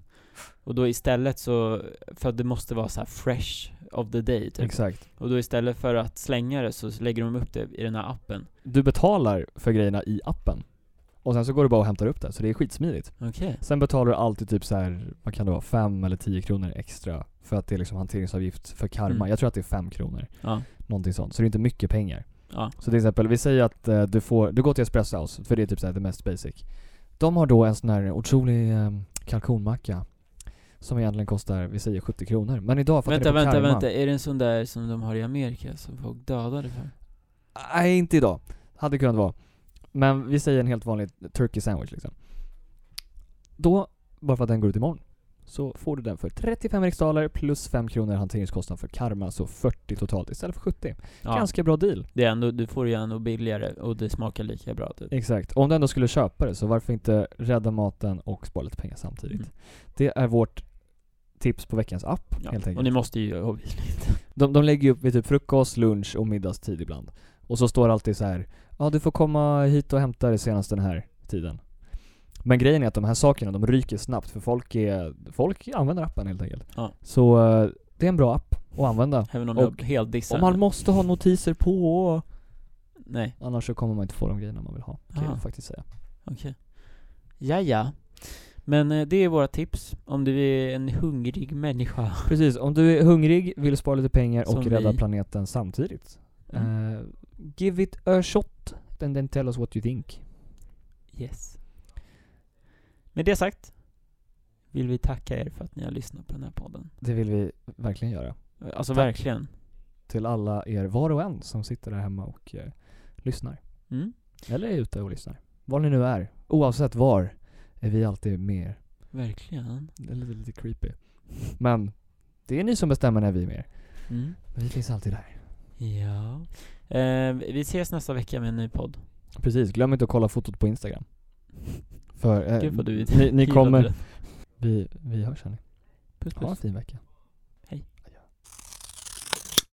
[SPEAKER 1] Och då istället så, för att det måste vara så här fresh of the day typ.
[SPEAKER 2] Exakt.
[SPEAKER 1] Och då istället för att slänga det så lägger de upp det i den här appen.
[SPEAKER 2] Du betalar för grejerna i appen. Och sen så går du bara och hämtar upp det, så det är skitsmidigt.
[SPEAKER 1] Okej.
[SPEAKER 2] Sen betalar du alltid typ så här, vad kan det vara, 5 eller 10 kronor extra för att det är liksom hanteringsavgift för karma.
[SPEAKER 1] Mm.
[SPEAKER 2] Jag tror att det är 5 kronor,
[SPEAKER 1] Ja.
[SPEAKER 2] någonting sånt. Så det är inte mycket pengar.
[SPEAKER 1] Ja.
[SPEAKER 2] Så till exempel, vi säger att eh, du får, du går till Espresso House, för det är typ så här det mest basic. De har då en sån här otrolig eh, kalkonmacka som egentligen kostar, vi säger 70 kronor. Men idag för att den
[SPEAKER 1] Vänta,
[SPEAKER 2] är på
[SPEAKER 1] vänta,
[SPEAKER 2] karma,
[SPEAKER 1] vänta. Är det en sån där som de har i Amerika som folk dödade för?
[SPEAKER 2] Nej, inte idag. Hade kunnat vara. Men vi säger en helt vanlig turkey sandwich liksom. Då, bara för att den går ut imorgon, så får du den för 35 riksdaler plus 5 kronor hanteringskostnad för karma, så 40 totalt istället för 70.
[SPEAKER 1] Ja.
[SPEAKER 2] Ganska bra deal.
[SPEAKER 1] Det är ändå, du får ju ändå billigare och det smakar lika bra typ.
[SPEAKER 2] Exakt. Om du ändå skulle köpa det, så varför inte rädda maten och spara lite pengar samtidigt?
[SPEAKER 1] Mm.
[SPEAKER 2] Det är vårt tips på veckans app,
[SPEAKER 1] Ja.
[SPEAKER 2] helt enkelt.
[SPEAKER 1] Och ni måste ju obviously
[SPEAKER 2] (laughs)
[SPEAKER 1] inte.
[SPEAKER 2] De, de lägger ju upp vid typ frukost, lunch och middagstid ibland. Och så står det alltid så här. ja du får komma hit och hämta det senast den här tiden. Men grejen är att de här sakerna, de ryker snabbt för folk är, folk använder appen helt enkelt.
[SPEAKER 1] Ja.
[SPEAKER 2] Så eh, det är en bra app att använda.
[SPEAKER 1] Även om
[SPEAKER 2] Och-
[SPEAKER 1] jag helt dissar.
[SPEAKER 2] Och man måste ha notiser på,
[SPEAKER 1] Nej,
[SPEAKER 2] annars så kommer man inte få de grejerna man vill ha. Kan
[SPEAKER 1] Ah.
[SPEAKER 2] jag faktiskt säga.
[SPEAKER 1] okej. Ja, ja. Men eh, det är våra tips om du är en hungrig människa. (laughs)
[SPEAKER 2] Precis, om du är hungrig, vill spara lite pengar och
[SPEAKER 1] Som
[SPEAKER 2] rädda
[SPEAKER 1] vi.
[SPEAKER 2] planeten samtidigt.
[SPEAKER 1] Mm.
[SPEAKER 2] Eh, give it a shot and then tell us what you think.
[SPEAKER 1] Yes. Med det sagt vill vi tacka er för att ni har lyssnat på den här podden.
[SPEAKER 2] Det vill vi verkligen göra.
[SPEAKER 1] Alltså
[SPEAKER 2] Tack.
[SPEAKER 1] verkligen.
[SPEAKER 2] till alla er var och en som sitter där hemma och eh, lyssnar.
[SPEAKER 1] Mm,
[SPEAKER 2] Eller är ute och lyssnar. Var ni nu är. Oavsett var är vi alltid med er.
[SPEAKER 1] verkligen.
[SPEAKER 2] Det är lite, lite creepy. Men det är ni som bestämmer när vi är med er.
[SPEAKER 1] Mm.
[SPEAKER 2] Men vi finns alltid där.
[SPEAKER 1] Ja. Eh, vi ses nästa vecka med en ny podd.
[SPEAKER 2] Precis, glöm inte att kolla fotot på Instagram. För eh,
[SPEAKER 1] Gud vad du är
[SPEAKER 2] ni, ni
[SPEAKER 1] gillade (laughs)
[SPEAKER 2] kommer...
[SPEAKER 1] det.
[SPEAKER 2] Vi, vi hörs hörni.
[SPEAKER 1] Puss
[SPEAKER 2] Ha en
[SPEAKER 1] puss.
[SPEAKER 2] fin vecka.